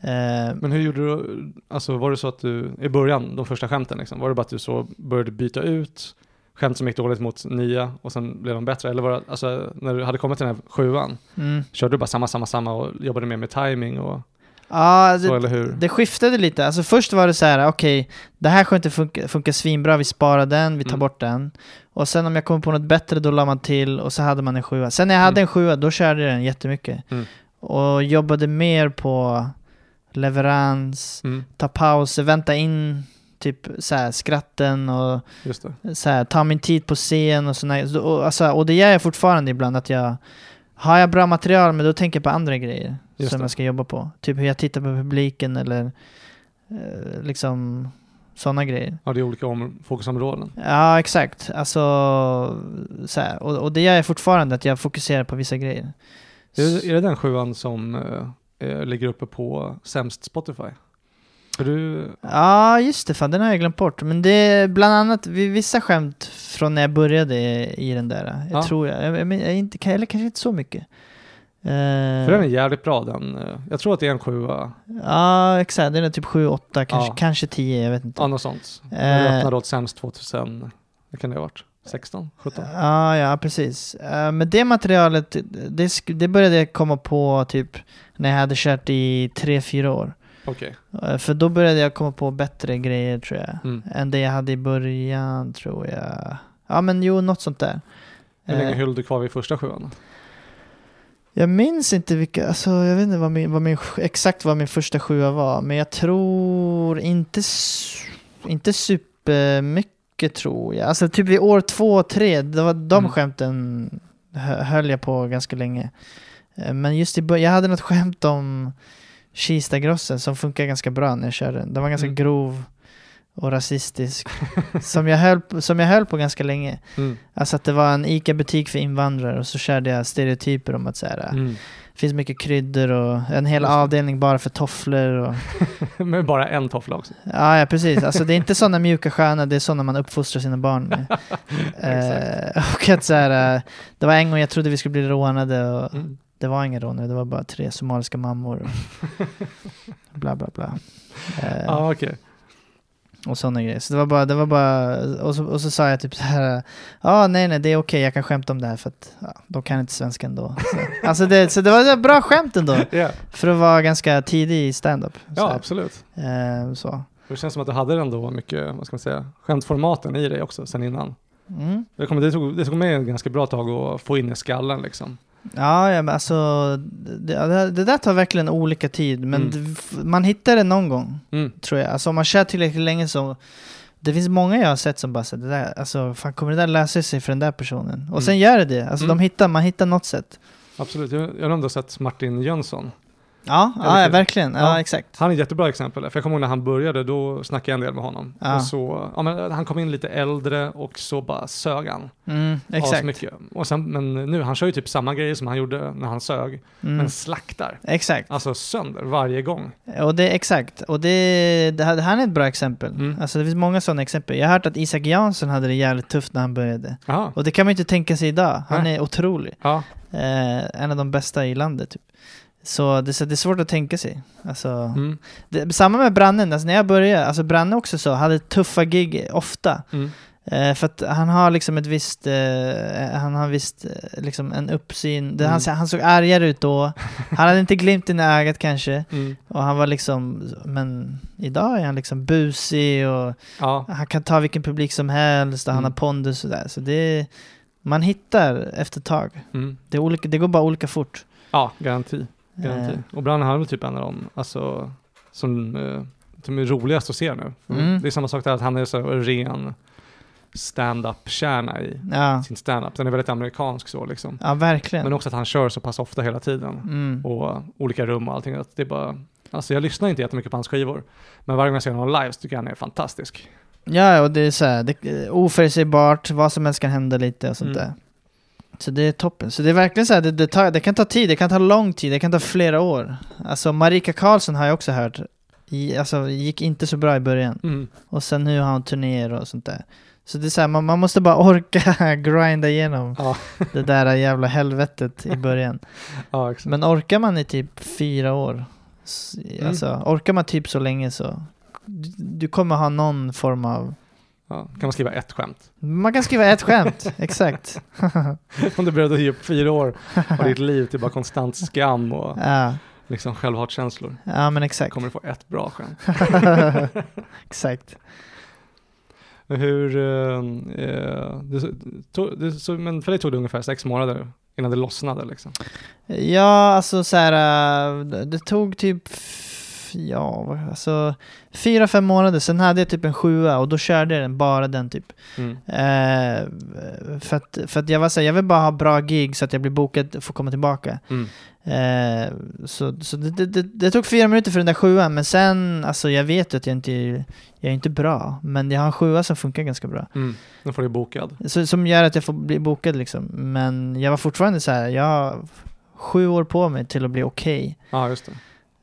[SPEAKER 3] Eh,
[SPEAKER 1] Men hur gjorde du, alltså var det så att du, i början, de första skämten liksom, var det bara att du så började byta ut skämt som gick dåligt mot nya och sen blev de bättre? Eller var det, alltså när du hade kommit till den här sjuan,
[SPEAKER 3] mm.
[SPEAKER 1] körde du bara samma, samma, samma och jobbade mer med timing och
[SPEAKER 3] Ja,
[SPEAKER 1] så,
[SPEAKER 3] det,
[SPEAKER 1] eller hur?
[SPEAKER 3] det skiftade lite. Alltså först var det så här, okej, det här skämtet funkar, funkar svinbra, vi sparar den, vi tar
[SPEAKER 1] Mm.
[SPEAKER 3] bort den. Och sen om jag kom på något bättre då la man till och så hade man en sjua. Sen när jag hade
[SPEAKER 1] Mm.
[SPEAKER 3] en sjua då körde jag den jättemycket.
[SPEAKER 1] Mm.
[SPEAKER 3] Och jobbade mer på leverans,
[SPEAKER 1] Mm,
[SPEAKER 3] ta pauser, vänta in typ så här, skratten och
[SPEAKER 1] just det.
[SPEAKER 3] så här, ta min tid på scen och sådana och, alltså, och det gör jag fortfarande ibland att jag har jag bra material men då tänker jag på andra grejer
[SPEAKER 1] Just
[SPEAKER 3] som
[SPEAKER 1] det.
[SPEAKER 3] jag ska jobba på. Typ hur jag tittar på publiken eller eh, liksom sådana grejer.
[SPEAKER 1] Ja, det är olika om, fokusområden.
[SPEAKER 3] Ja, exakt. Alltså, så här, och, och det gör jag fortfarande, att jag fokuserar på vissa grejer.
[SPEAKER 1] Är det, är det den sjuan som eh, eh, ligger uppe på sämst Spotify? För du,
[SPEAKER 3] Ja, just det. Fan, den har jag glömt bort. Men det är bland annat vi- vissa skämt från när jag började i, i den där. Jag
[SPEAKER 1] Ja.
[SPEAKER 3] tror jag. jag, jag, men- jag inte, kan- eller kanske inte så mycket. Eh,
[SPEAKER 1] för den är jävligt bra den. eh, Jag tror att det är en sjua,
[SPEAKER 3] Ja, exakt. Den är typ 7, 8, kanske,
[SPEAKER 1] Ja.
[SPEAKER 3] kanske 10. Jag vet inte.
[SPEAKER 1] ja något sånt. När du
[SPEAKER 3] Eh.
[SPEAKER 1] öppnade åt sämst 2000, vad kan det ha varit? 16? 17?
[SPEAKER 3] Ja, ja, precis. Eh, men det materialet, det, sk- det började jag komma på typ när jag hade kört i 3-4 år.
[SPEAKER 1] Okej.
[SPEAKER 3] Eh, För då började jag komma på bättre grejer tror jag.
[SPEAKER 1] Mm.
[SPEAKER 3] Än det jag hade i början tror jag. Ja men jo, något sånt där.
[SPEAKER 1] Hur länge
[SPEAKER 3] Eh,
[SPEAKER 1] höll du kvar vid första sjuan?
[SPEAKER 3] Jag minns inte vilka, alltså jag vet inte vad min, vad min, exakt vad min första sjua var. Men jag tror inte, s- inte supermycket tror jag. Alltså typ vid år två, tre, det var, de
[SPEAKER 1] Mm.
[SPEAKER 3] skämten hö- höll jag på ganska länge. Eh, Men just i början, jag hade något skämt om Kistagrossen som funkar ganska bra när jag körde den. Den var ganska
[SPEAKER 1] Mm.
[SPEAKER 3] grov och rasistisk. som, jag höll, på- som jag höll på ganska länge.
[SPEAKER 1] Mm.
[SPEAKER 3] Alltså att det var en ICA-butik för invandrare och så körde jag stereotyper om att så här,
[SPEAKER 1] Mm.
[SPEAKER 3] det finns mycket kryddor och en hel
[SPEAKER 1] Just det.
[SPEAKER 3] avdelning bara för tofflor. Och, Mm.
[SPEAKER 1] Men bara en toffla också.
[SPEAKER 3] ja, ja, precis. Alltså, det är inte sådana mjuka sköna, det är sådana man uppfostrar sina barn med. eh, och att så här, eh, det var en gång jag trodde vi skulle bli rånade och
[SPEAKER 1] Mm.
[SPEAKER 3] det var ingen rånare, det var bara tre somaliska mammor. Och bla, bla, bla. Eh,
[SPEAKER 1] Ja, ah, okej.
[SPEAKER 3] Och sådana grejer. Så det var bara, det var bara och, så, och så sa jag typ så här, ja nej nej det är okej, jag kan skämta om det här för att ja, de kan inte svenska ändå. Så, alltså det, så det var ett bra skämt ändå.
[SPEAKER 1] Ja.
[SPEAKER 3] För att vara ganska tidig i stand-up. Så
[SPEAKER 1] Ja,
[SPEAKER 3] här.
[SPEAKER 1] absolut.
[SPEAKER 3] Eh, så.
[SPEAKER 1] Det känns som att du hade ändå mycket, vad ska man säga, skämtformaten i dig också sen innan.
[SPEAKER 3] Mm.
[SPEAKER 1] Det, kommer, det, tog, det tog mig en ganska bra tag att få in i skallen liksom.
[SPEAKER 3] Ja, ja, men alltså det, det, det där tar verkligen olika tid, men
[SPEAKER 1] Mm.
[SPEAKER 3] det- f- man hittar det någon gång
[SPEAKER 1] Mm.
[SPEAKER 3] tror jag. Alltså om man kör tillräckligt länge så, det finns många jag har sett som bara säger det där, alltså fan kommer det där lösa sig för den där personen? Och
[SPEAKER 1] Mm.
[SPEAKER 3] sen gör det det, alltså
[SPEAKER 1] Mm.
[SPEAKER 3] de hittar, man hittar något sätt.
[SPEAKER 1] Absolut, jag, jag har ändå sett Martin Jönsson.
[SPEAKER 3] Ja,
[SPEAKER 1] Ja,
[SPEAKER 3] ja,
[SPEAKER 1] det
[SPEAKER 3] ja
[SPEAKER 1] är-
[SPEAKER 3] verkligen, ja,
[SPEAKER 1] ja.
[SPEAKER 3] exakt.
[SPEAKER 1] Han är ett jättebra exempel, för jag kommer ihåg när han började, då snackade jag en del med honom.
[SPEAKER 3] Ja.
[SPEAKER 1] Och så, ja, men, eh, han kom in lite äldre och så bara sög han.
[SPEAKER 3] Mm, exakt.
[SPEAKER 1] Asmycket. Och sen, men nu, han kör ju typ samma grejer som han gjorde när han sög,
[SPEAKER 3] Mm.
[SPEAKER 1] men slaktar.
[SPEAKER 3] Exakt.
[SPEAKER 1] Alltså sönder varje gång.
[SPEAKER 3] Och det, exakt, och det, det, här- det här är ett bra exempel.
[SPEAKER 1] Mm.
[SPEAKER 3] Alltså det finns många sådana exempel. Jag har hört att Isak Jansson hade det jävligt tufft när han började.
[SPEAKER 1] Aha.
[SPEAKER 3] Och det kan man ju inte tänka sig idag. Han
[SPEAKER 1] Nej.
[SPEAKER 3] är otrolig.
[SPEAKER 1] Ja,
[SPEAKER 3] Eh, en av de bästa i landet typ. Så det, så det är svårt att tänka sig. Alltså,
[SPEAKER 1] mm,
[SPEAKER 3] det, samma med Brannen, alltså när jag började, alltså Branne också så, hade tuffa gig ofta.
[SPEAKER 1] mm,
[SPEAKER 3] Eh, för att han har liksom ett visst, eh, han har visst, eh, liksom en uppsyn. Det, han,
[SPEAKER 1] Mm.
[SPEAKER 3] ser- han såg argare ut då. Han hade inte glimten i ögat kanske.
[SPEAKER 1] Mm.
[SPEAKER 3] Och han var liksom, men idag är han liksom busig och
[SPEAKER 1] Ja.
[SPEAKER 3] han kan ta vilken publik som helst och han
[SPEAKER 1] Mm.
[SPEAKER 3] har pondus och sådär. Så det, man hittar efter ett tag.
[SPEAKER 1] Mm.
[SPEAKER 3] Det, är olika, det går bara olika fort.
[SPEAKER 1] ja, garanti.
[SPEAKER 3] Eh,
[SPEAKER 1] garanti. Och Brann han är väl typ en av dem alltså, som, eh, som är roligast att se nu.
[SPEAKER 3] Mm.
[SPEAKER 1] Det är samma sak där, att han är så ren stand-up-kärna i
[SPEAKER 3] ja.
[SPEAKER 1] sin stand-up. Den är väldigt amerikansk så liksom.
[SPEAKER 3] ja, verkligen.
[SPEAKER 1] Men också att han kör så pass ofta hela tiden.
[SPEAKER 3] mm.
[SPEAKER 1] och olika rum och allting. Att det är bara, alltså jag lyssnar inte jättemycket på hans skivor, men varje gång jag ser honom live så tycker jag han är fantastisk.
[SPEAKER 3] Ja, och det är så här, det, eh, oförutsägbart, vad som helst kan hända lite och sånt
[SPEAKER 1] Mm.
[SPEAKER 3] där. Så det är toppen. Så det är verkligen så här, det, det, tar, det kan ta tid, det kan ta lång tid, det kan ta flera år. Alltså Marika Karlsson har jag också hört, i, alltså gick inte så bra i början.
[SPEAKER 1] Mm.
[SPEAKER 3] Och sen nu har hon turnéer och sånt där. Så det är så här, man, man måste bara orka grinda igenom
[SPEAKER 1] Ja.
[SPEAKER 3] det där jävla helvetet i början.
[SPEAKER 1] Ja, exakt.
[SPEAKER 3] Men orkar man i typ fyra år, s-
[SPEAKER 1] Mm.
[SPEAKER 3] alltså orkar man typ så länge så, du, du kommer ha någon form av
[SPEAKER 1] Ja, kan man skriva ett skämt?
[SPEAKER 3] man kan skriva ett skämt, exakt.
[SPEAKER 1] Om du började ge upp fyra år av ditt liv till bara konstant skam och
[SPEAKER 3] Ja,
[SPEAKER 1] liksom självhatkänslor,
[SPEAKER 3] ja men exakt.
[SPEAKER 1] kommer du få ett bra skämt.
[SPEAKER 3] exakt.
[SPEAKER 1] Men Hur, eh, eh, det, tog, det, så, men för dig tog det ungefär sex månader innan det lossnade liksom?
[SPEAKER 3] Ja, alltså så här, äh, det tog typ, f- ja, vad- alltså fyra, fem månader. Sen hade jag typ en sjua och då körde jag den, bara den typ.
[SPEAKER 1] Mm.
[SPEAKER 3] Eh, för, att, för att jag var så här, jag vill bara ha bra gig så att jag blir bokad och får komma tillbaka.
[SPEAKER 1] Mm.
[SPEAKER 3] Eh, så så det, det, det, det tog fyra minuter för den där sjuan, men sen, alltså jag vet ju att jag inte, jag är inte bra, men jag har en sjua som funkar ganska bra.
[SPEAKER 1] Mm. Nu får du bokad.
[SPEAKER 3] Så, som gör att jag får bli bokad liksom. Men jag var fortfarande så här, jag har sju år på mig till att bli okej.
[SPEAKER 1] Ja, just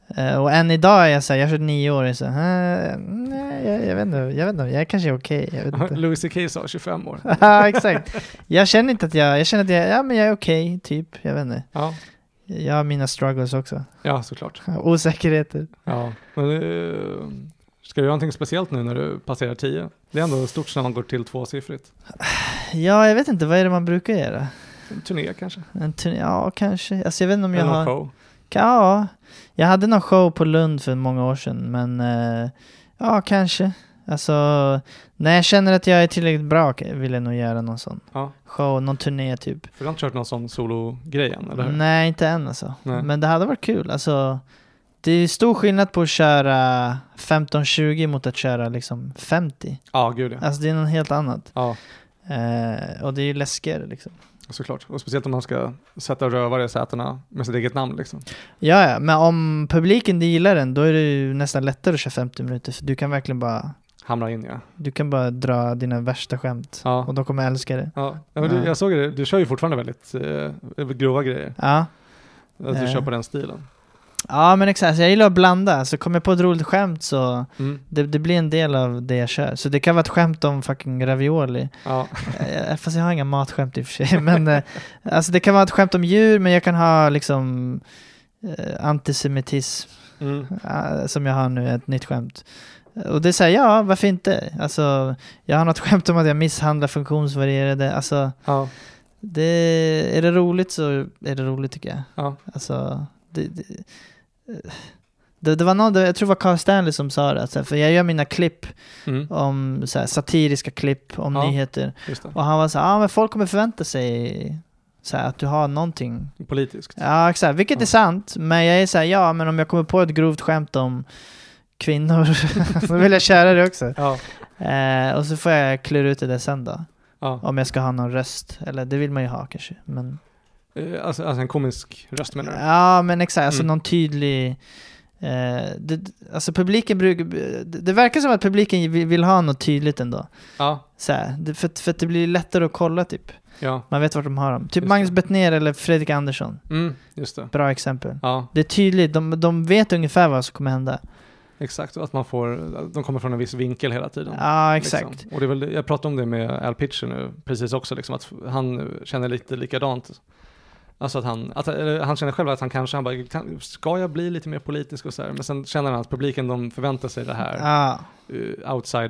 [SPEAKER 1] det.
[SPEAKER 3] Eh, och än idag är jag så här, jag har kört nio år och är så här, "Eh, nej, jag, jag vet inte, jag vet inte, jag kanske är okej, jag vet inte.
[SPEAKER 1] Louis CK sa 25 år.
[SPEAKER 3] ja, exakt. Jag känner inte att jag, jag känner att jag, ja men jag är okej, typ, jag vet inte.
[SPEAKER 1] Ja,
[SPEAKER 3] Jag har mina struggles också.
[SPEAKER 1] ja såklart.
[SPEAKER 3] Osäkerheter.
[SPEAKER 1] Ja, men eh, ska du göra någonting speciellt nu när du passerar 10? Det är ändå stort när man går till tvåsiffrigt.
[SPEAKER 3] Ja, jag vet inte, vad är det man brukar göra?
[SPEAKER 1] En turné kanske?
[SPEAKER 3] En turné, ja kanske. Alltså jag vet inte om jag
[SPEAKER 1] Eller
[SPEAKER 3] har...
[SPEAKER 1] någon show?
[SPEAKER 3] Ja, jag hade någon show på Lund för många år sedan, men eh, ja, kanske. Alltså, när jag känner att jag är tillräckligt bra vill jag nog göra någon sån
[SPEAKER 1] Ja,
[SPEAKER 3] show, någon turné typ.
[SPEAKER 1] för du har inte kört någon sån sologrej än, eller hur?
[SPEAKER 3] Nej, inte än alltså.
[SPEAKER 1] Nej.
[SPEAKER 3] Men det hade varit kul. Alltså, det är stor skillnad på att köra 15-20 mot att köra liksom 50.
[SPEAKER 1] Ja, gud ja.
[SPEAKER 3] Alltså det är något helt annat.
[SPEAKER 1] Ja,
[SPEAKER 3] Eh, och det är ju läskigare liksom.
[SPEAKER 1] såklart. Och speciellt om man ska sätta rövare i sätena med sitt eget namn liksom.
[SPEAKER 3] Ja, ja, men om publiken gillar den, då är det ju nästan lättare att köra 50 minuter. För du kan verkligen bara
[SPEAKER 1] Hamra in ja.
[SPEAKER 3] Du kan bara dra dina värsta skämt
[SPEAKER 1] Ja.
[SPEAKER 3] och de kommer älska det.
[SPEAKER 1] Ja, ja, men du,
[SPEAKER 3] Nej.
[SPEAKER 1] jag såg det, du kör ju fortfarande väldigt eh, grova grejer.
[SPEAKER 3] Ja,
[SPEAKER 1] Att du
[SPEAKER 3] Eh.
[SPEAKER 1] kör på den stilen.
[SPEAKER 3] ja men exakt. Så jag gillar att blanda. Så kommer jag på ett roligt skämt så
[SPEAKER 1] Mm.
[SPEAKER 3] det, det blir en del av det jag kör. Så det kan vara ett skämt om fucking ravioli.
[SPEAKER 1] Ja,
[SPEAKER 3] Eh, Fast jag har inga matskämt i och för sig. Men eh, alltså det kan vara ett skämt om djur men jag kan ha liksom eh, antisemitism
[SPEAKER 1] mm.
[SPEAKER 3] eh, som jag har nu, ett nytt skämt. Och det är såhär, ja varför inte? Alltså, jag har något skämt om att jag misshandlar funktionsvarierade. Alltså,
[SPEAKER 1] ja,
[SPEAKER 3] Det, är det roligt så är det roligt tycker jag.
[SPEAKER 1] Ja.
[SPEAKER 3] Alltså, det, det, det, det var någon, jag tror det var Carl Stanley som sa det, att så här, för jag gör mina klipp
[SPEAKER 1] mm.
[SPEAKER 3] om så här, satiriska klipp om
[SPEAKER 1] Ja.
[SPEAKER 3] nyheter.
[SPEAKER 1] just det.
[SPEAKER 3] Och han var så här, ah, men folk kommer förvänta sig så här, att du har någonting.
[SPEAKER 1] Politiskt.
[SPEAKER 3] Ja, exakt, vilket är
[SPEAKER 1] Ja.
[SPEAKER 3] sant, men jag är så här, ja, men om jag kommer på ett grovt skämt om kvinnor så vill jag köra det också.
[SPEAKER 1] Ja,
[SPEAKER 3] Eh, och så får jag klura ut det där sen då.
[SPEAKER 1] ja.
[SPEAKER 3] Om jag ska ha någon röst, eller det vill man ju ha kanske. Men...
[SPEAKER 1] Eh, Alltså, alltså en komisk röst menar du?
[SPEAKER 3] Ja, men exakt. Alltså
[SPEAKER 1] Mm.
[SPEAKER 3] någon tydlig... Eh, det, alltså publiken brukar... Det, det verkar som att publiken vill, vill ha något tydligt ändå.
[SPEAKER 1] Ja,
[SPEAKER 3] Så här, det, för, att- för att det blir lättare att kolla typ.
[SPEAKER 1] ja.
[SPEAKER 3] Man vet vart de har dem. Typ
[SPEAKER 1] Just
[SPEAKER 3] Magnus
[SPEAKER 1] det.
[SPEAKER 3] Bettner eller Fredrik Andersson.
[SPEAKER 1] Mm, just det.
[SPEAKER 3] Bra exempel.
[SPEAKER 1] Ja,
[SPEAKER 3] Det är tydligt, de, de vet ungefär vad som kommer hända.
[SPEAKER 1] exakt. Och Att man får, de kommer från en viss vinkel hela tiden.
[SPEAKER 3] Ja, exakt.
[SPEAKER 1] Liksom. Och det är väl, jag pratade om det med Al Pitcher nu, precis också, liksom, att han känner lite likadant. Alltså att han, att, eller han känner själv att han kanske, han bara, kan, ska jag bli lite mer politisk och så här? Men sen känner han att publiken, de förväntar sig det här.
[SPEAKER 3] Ja,
[SPEAKER 1] eh,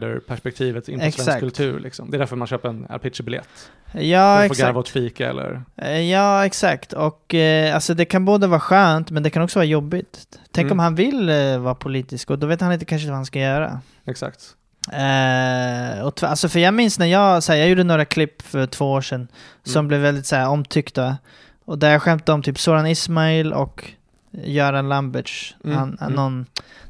[SPEAKER 1] outsider-perspektivet in på svensk
[SPEAKER 3] Exakt.
[SPEAKER 1] kultur. Liksom. Det är därför man köper en Al Pitcher-biljett.
[SPEAKER 3] Ja,
[SPEAKER 1] för att få garva
[SPEAKER 3] exakt.
[SPEAKER 1] åt fika eller...
[SPEAKER 3] Eh, Ja, exakt. Och eh, alltså det kan både vara skönt, men det kan också vara jobbigt. Tänk
[SPEAKER 1] Mm.
[SPEAKER 3] om han vill eh, vara politisk, och då vet han inte kanske vad han ska göra.
[SPEAKER 1] Exakt.
[SPEAKER 3] Eh, och tv- alltså för jag minns när jag, så här, jag gjorde några klipp för två år sedan som
[SPEAKER 1] Mm.
[SPEAKER 3] blev väldigt så här, omtyckta. Och där jag skämtade om typ Soran Ismail och Göran Lamberts.
[SPEAKER 1] Mm,
[SPEAKER 3] Han,
[SPEAKER 1] mm.
[SPEAKER 3] Någon,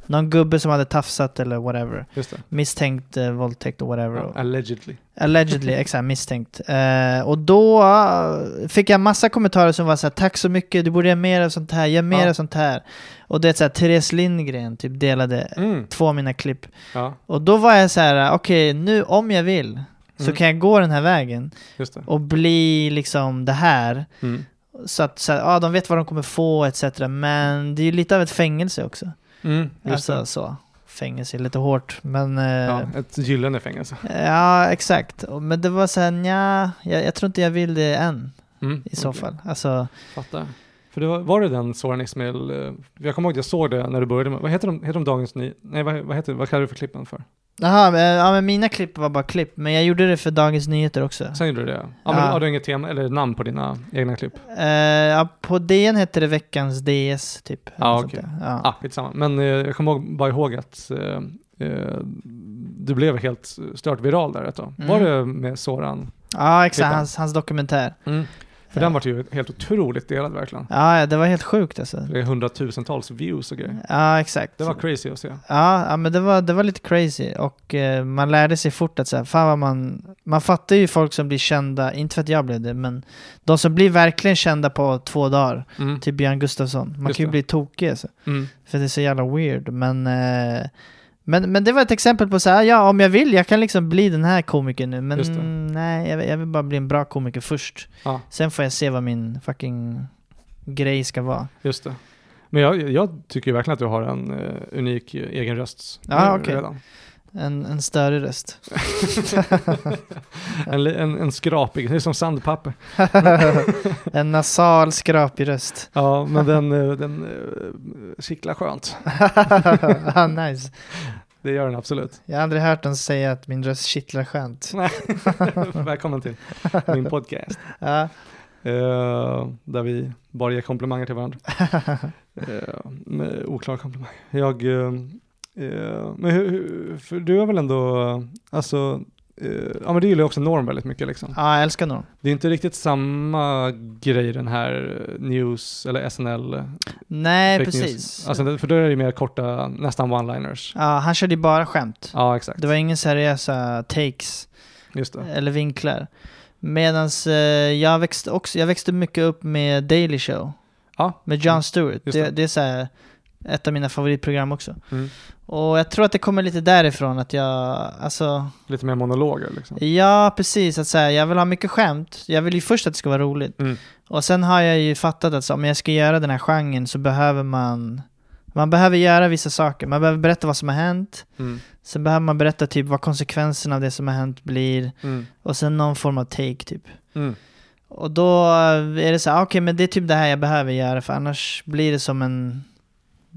[SPEAKER 3] någon gubbe som hade tafsat eller whatever.
[SPEAKER 1] Just det.
[SPEAKER 3] Misstänkt eh, våldtäkt och whatever.
[SPEAKER 1] Ja, allegedly.
[SPEAKER 3] Allegedly, exakt, misstänkt. Eh, och då eh, fick jag massa kommentarer som var så här, tack så mycket, du borde göra mer av sånt här, gör mer
[SPEAKER 1] Ja.
[SPEAKER 3] av sånt här. Och det är så här, Therese Lindgren typ delade
[SPEAKER 1] Mm.
[SPEAKER 3] två av mina klipp.
[SPEAKER 1] Ja,
[SPEAKER 3] Och då var jag så här, okej, nu om jag vill så
[SPEAKER 1] Mm.
[SPEAKER 3] kan jag gå den här vägen
[SPEAKER 1] just det.
[SPEAKER 3] och bli liksom det här.
[SPEAKER 1] Mm.
[SPEAKER 3] Så att så här, ja, de vet vad de kommer få etc. Men det är ju lite av ett fängelse också.
[SPEAKER 1] Mm, just
[SPEAKER 3] alltså så, fängelse är lite hårt, men... eh,
[SPEAKER 1] det. Ja, ett gyllene fängelse.
[SPEAKER 3] Ja, exakt. Och- Men det var såhär, nja, jag, jag tror inte jag vill det än
[SPEAKER 1] Mm.
[SPEAKER 3] i så
[SPEAKER 1] okej.
[SPEAKER 3] fall. Alltså,
[SPEAKER 1] Fattar. För det var, var det den Soran Ismail, eh, jag kommer ihåg att jag såg det när du började med, vad heter de, heter de Dagens Ny, nej vad, vad heter, vad kallar du för klippen för?
[SPEAKER 3] aha, men- ja, men mina klipp var bara klipp, men jag gjorde det för Dagens Nyheter också.
[SPEAKER 1] Sen gjorde du det ja. ja men
[SPEAKER 3] Ja.
[SPEAKER 1] har du inget tema, eller namn på dina egna klipp?
[SPEAKER 3] Eh, ja, på DN hette det Veckans DS, typ.
[SPEAKER 1] Ja,
[SPEAKER 3] Eller sånt
[SPEAKER 1] okej.
[SPEAKER 3] där. Ja.
[SPEAKER 1] Ah, skitsamma. Men eh, jag kommer ihåg, bara ihåg att eh, eh, du blev helt stört viral där ett tag.
[SPEAKER 3] Mm.
[SPEAKER 1] Var det med Soran?
[SPEAKER 3] ja, exakt.
[SPEAKER 1] Klippan.
[SPEAKER 3] Hans, hans dokumentär.
[SPEAKER 1] För den var ju helt otroligt delad verkligen.
[SPEAKER 3] Ja, ja, det var helt sjukt alltså.
[SPEAKER 1] Det är hundratusentals views och grejer.
[SPEAKER 3] Ja, exakt.
[SPEAKER 1] Det var crazy att se.
[SPEAKER 3] Ja, ja men det var, det var lite crazy och eh, man lärde sig fort att så här, fan vad man... Man fattar ju folk som blir kända, inte för att jag blev det, men de som blir verkligen kända på två dagar,
[SPEAKER 1] Mm.
[SPEAKER 3] typ Björn Gustafsson. Man
[SPEAKER 1] Just
[SPEAKER 3] kan ju
[SPEAKER 1] det.
[SPEAKER 3] bli tokig alltså,
[SPEAKER 1] Mm.
[SPEAKER 3] för det är så jävla weird. Men, eh, men, men det var ett exempel på så här, ja om jag vill, jag kan liksom bli den här komikern nu, men
[SPEAKER 1] Just det.
[SPEAKER 3] nej, jag, vill- jag vill bara bli en bra komiker först.
[SPEAKER 1] Ja.
[SPEAKER 3] Sen får jag se vad min fucking grej ska vara.
[SPEAKER 1] Just det. Men jag, jag tycker ju verkligen att du har en eh, unik eh, egen röst
[SPEAKER 3] Ja,
[SPEAKER 1] nu
[SPEAKER 3] okej.
[SPEAKER 1] redan.
[SPEAKER 3] En, en större röst.
[SPEAKER 1] En, li- en, en skrapig, det är som sandpapper.
[SPEAKER 3] en nasal skrapig röst.
[SPEAKER 1] Ja, men den, eh, den eh, kittlar skönt.
[SPEAKER 3] ah, nice.
[SPEAKER 1] Det gör den absolut.
[SPEAKER 3] Jag har aldrig hört någon säga att min röst kittlar skönt.
[SPEAKER 1] Välkommen till min podcast.
[SPEAKER 3] Ja.
[SPEAKER 1] Eh, där vi bara ger komplimanger till varandra. Eh, med oklara komplimanger. Jag, eh, eh, men hur, hur, för du är väl ändå, eh, alltså, eh, ja men du gillar ju också norm väldigt mycket liksom.
[SPEAKER 3] ja, jag älskar Norm.
[SPEAKER 1] Det är inte riktigt samma grej den här eh, news eller SNL. eh,
[SPEAKER 3] Nej,
[SPEAKER 1] fake
[SPEAKER 3] precis.
[SPEAKER 1] News. Alltså, det- för då är det ju mer korta, nästan one-liners.
[SPEAKER 3] Ja, han körde ju bara skämt.
[SPEAKER 1] Ja, exakt.
[SPEAKER 3] Det var eh. ingen seriösa takes
[SPEAKER 1] Just det.
[SPEAKER 3] eller vinklar. Medan jag, växte också, jag växte mycket upp med Daily Show,
[SPEAKER 1] Ja. Mm.
[SPEAKER 3] med Jon Stewart.
[SPEAKER 1] Just
[SPEAKER 3] Det,
[SPEAKER 1] det.
[SPEAKER 3] det är så här, ett av mina favoritprogram också.
[SPEAKER 1] Mm.
[SPEAKER 3] Och jag tror att det kommer lite därifrån att jag, alltså,
[SPEAKER 1] Lite mer monologer liksom.
[SPEAKER 3] Ja, precis. Att säga, jag vill ha mycket skämt. Jag vill ju först att det ska vara roligt.
[SPEAKER 1] Mm.
[SPEAKER 3] Och sen har jag ju fattat att så, om jag ska göra den här genren så behöver man... Man behöver göra vissa saker. Man behöver berätta vad som har hänt.
[SPEAKER 1] Mm.
[SPEAKER 3] Sen behöver man berätta typ vad konsekvenserna av det som har hänt blir.
[SPEAKER 1] Mm.
[SPEAKER 3] Och sen någon form av take typ.
[SPEAKER 1] Mm.
[SPEAKER 3] Och då är det så här, okej men det är typ det här jag behöver göra för annars blir det som en...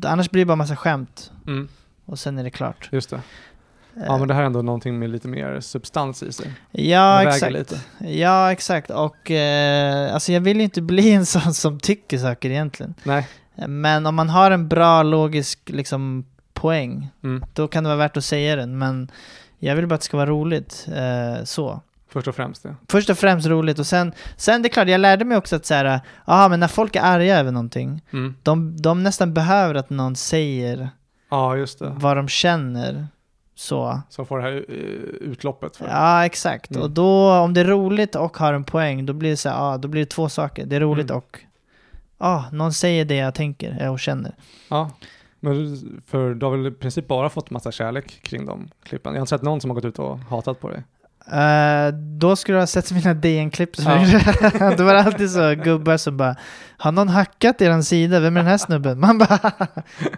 [SPEAKER 3] Annars blir det bara massa skämt.
[SPEAKER 1] Mm.
[SPEAKER 3] Och sen är det klart.
[SPEAKER 1] Just det. Ja, men det här är ändå någonting med lite mer substans i sig.
[SPEAKER 3] Eh, Ja,
[SPEAKER 1] Det väger
[SPEAKER 3] exakt.
[SPEAKER 1] lite.
[SPEAKER 3] Ja, exakt. Och eh, alltså jag vill ju inte bli en sån som tycker saker egentligen.
[SPEAKER 1] Nej.
[SPEAKER 3] Men om man har en bra logisk liksom, poäng,
[SPEAKER 1] Mm.
[SPEAKER 3] då kan det vara värt att säga den. Men jag vill bara att det ska vara roligt. Eh, så.
[SPEAKER 1] Först och främst det.
[SPEAKER 3] Först och främst roligt och sen, sen det är klart, jag lärde mig också att så här, eh, aha, men när folk är arga över någonting,
[SPEAKER 1] Mm.
[SPEAKER 3] de, de nästan behöver att någon säger
[SPEAKER 1] Ja, just det.
[SPEAKER 3] vad de känner. Så.
[SPEAKER 1] Så får det här eh, utloppet. För.
[SPEAKER 3] Ja, exakt.
[SPEAKER 1] Mm.
[SPEAKER 3] Och då, om det är roligt och har en poäng, då blir det så här, ah, då blir det två saker. Det är roligt
[SPEAKER 1] Mm.
[SPEAKER 3] och, ah, någon säger det jag tänker eh, och känner.
[SPEAKER 1] Ja. Men för du har väl i princip bara fått massa kärlek kring de klippen? Jag har inte sett någon som har gått ut och hatat på dig.
[SPEAKER 3] Eh, då skulle du ha sett mina DN-klipp. som
[SPEAKER 1] Ja.
[SPEAKER 3] jag gjorde. det var alltid så gubbar som bara, har någon hackat eran sida? Vem är den här snubben? Man bara,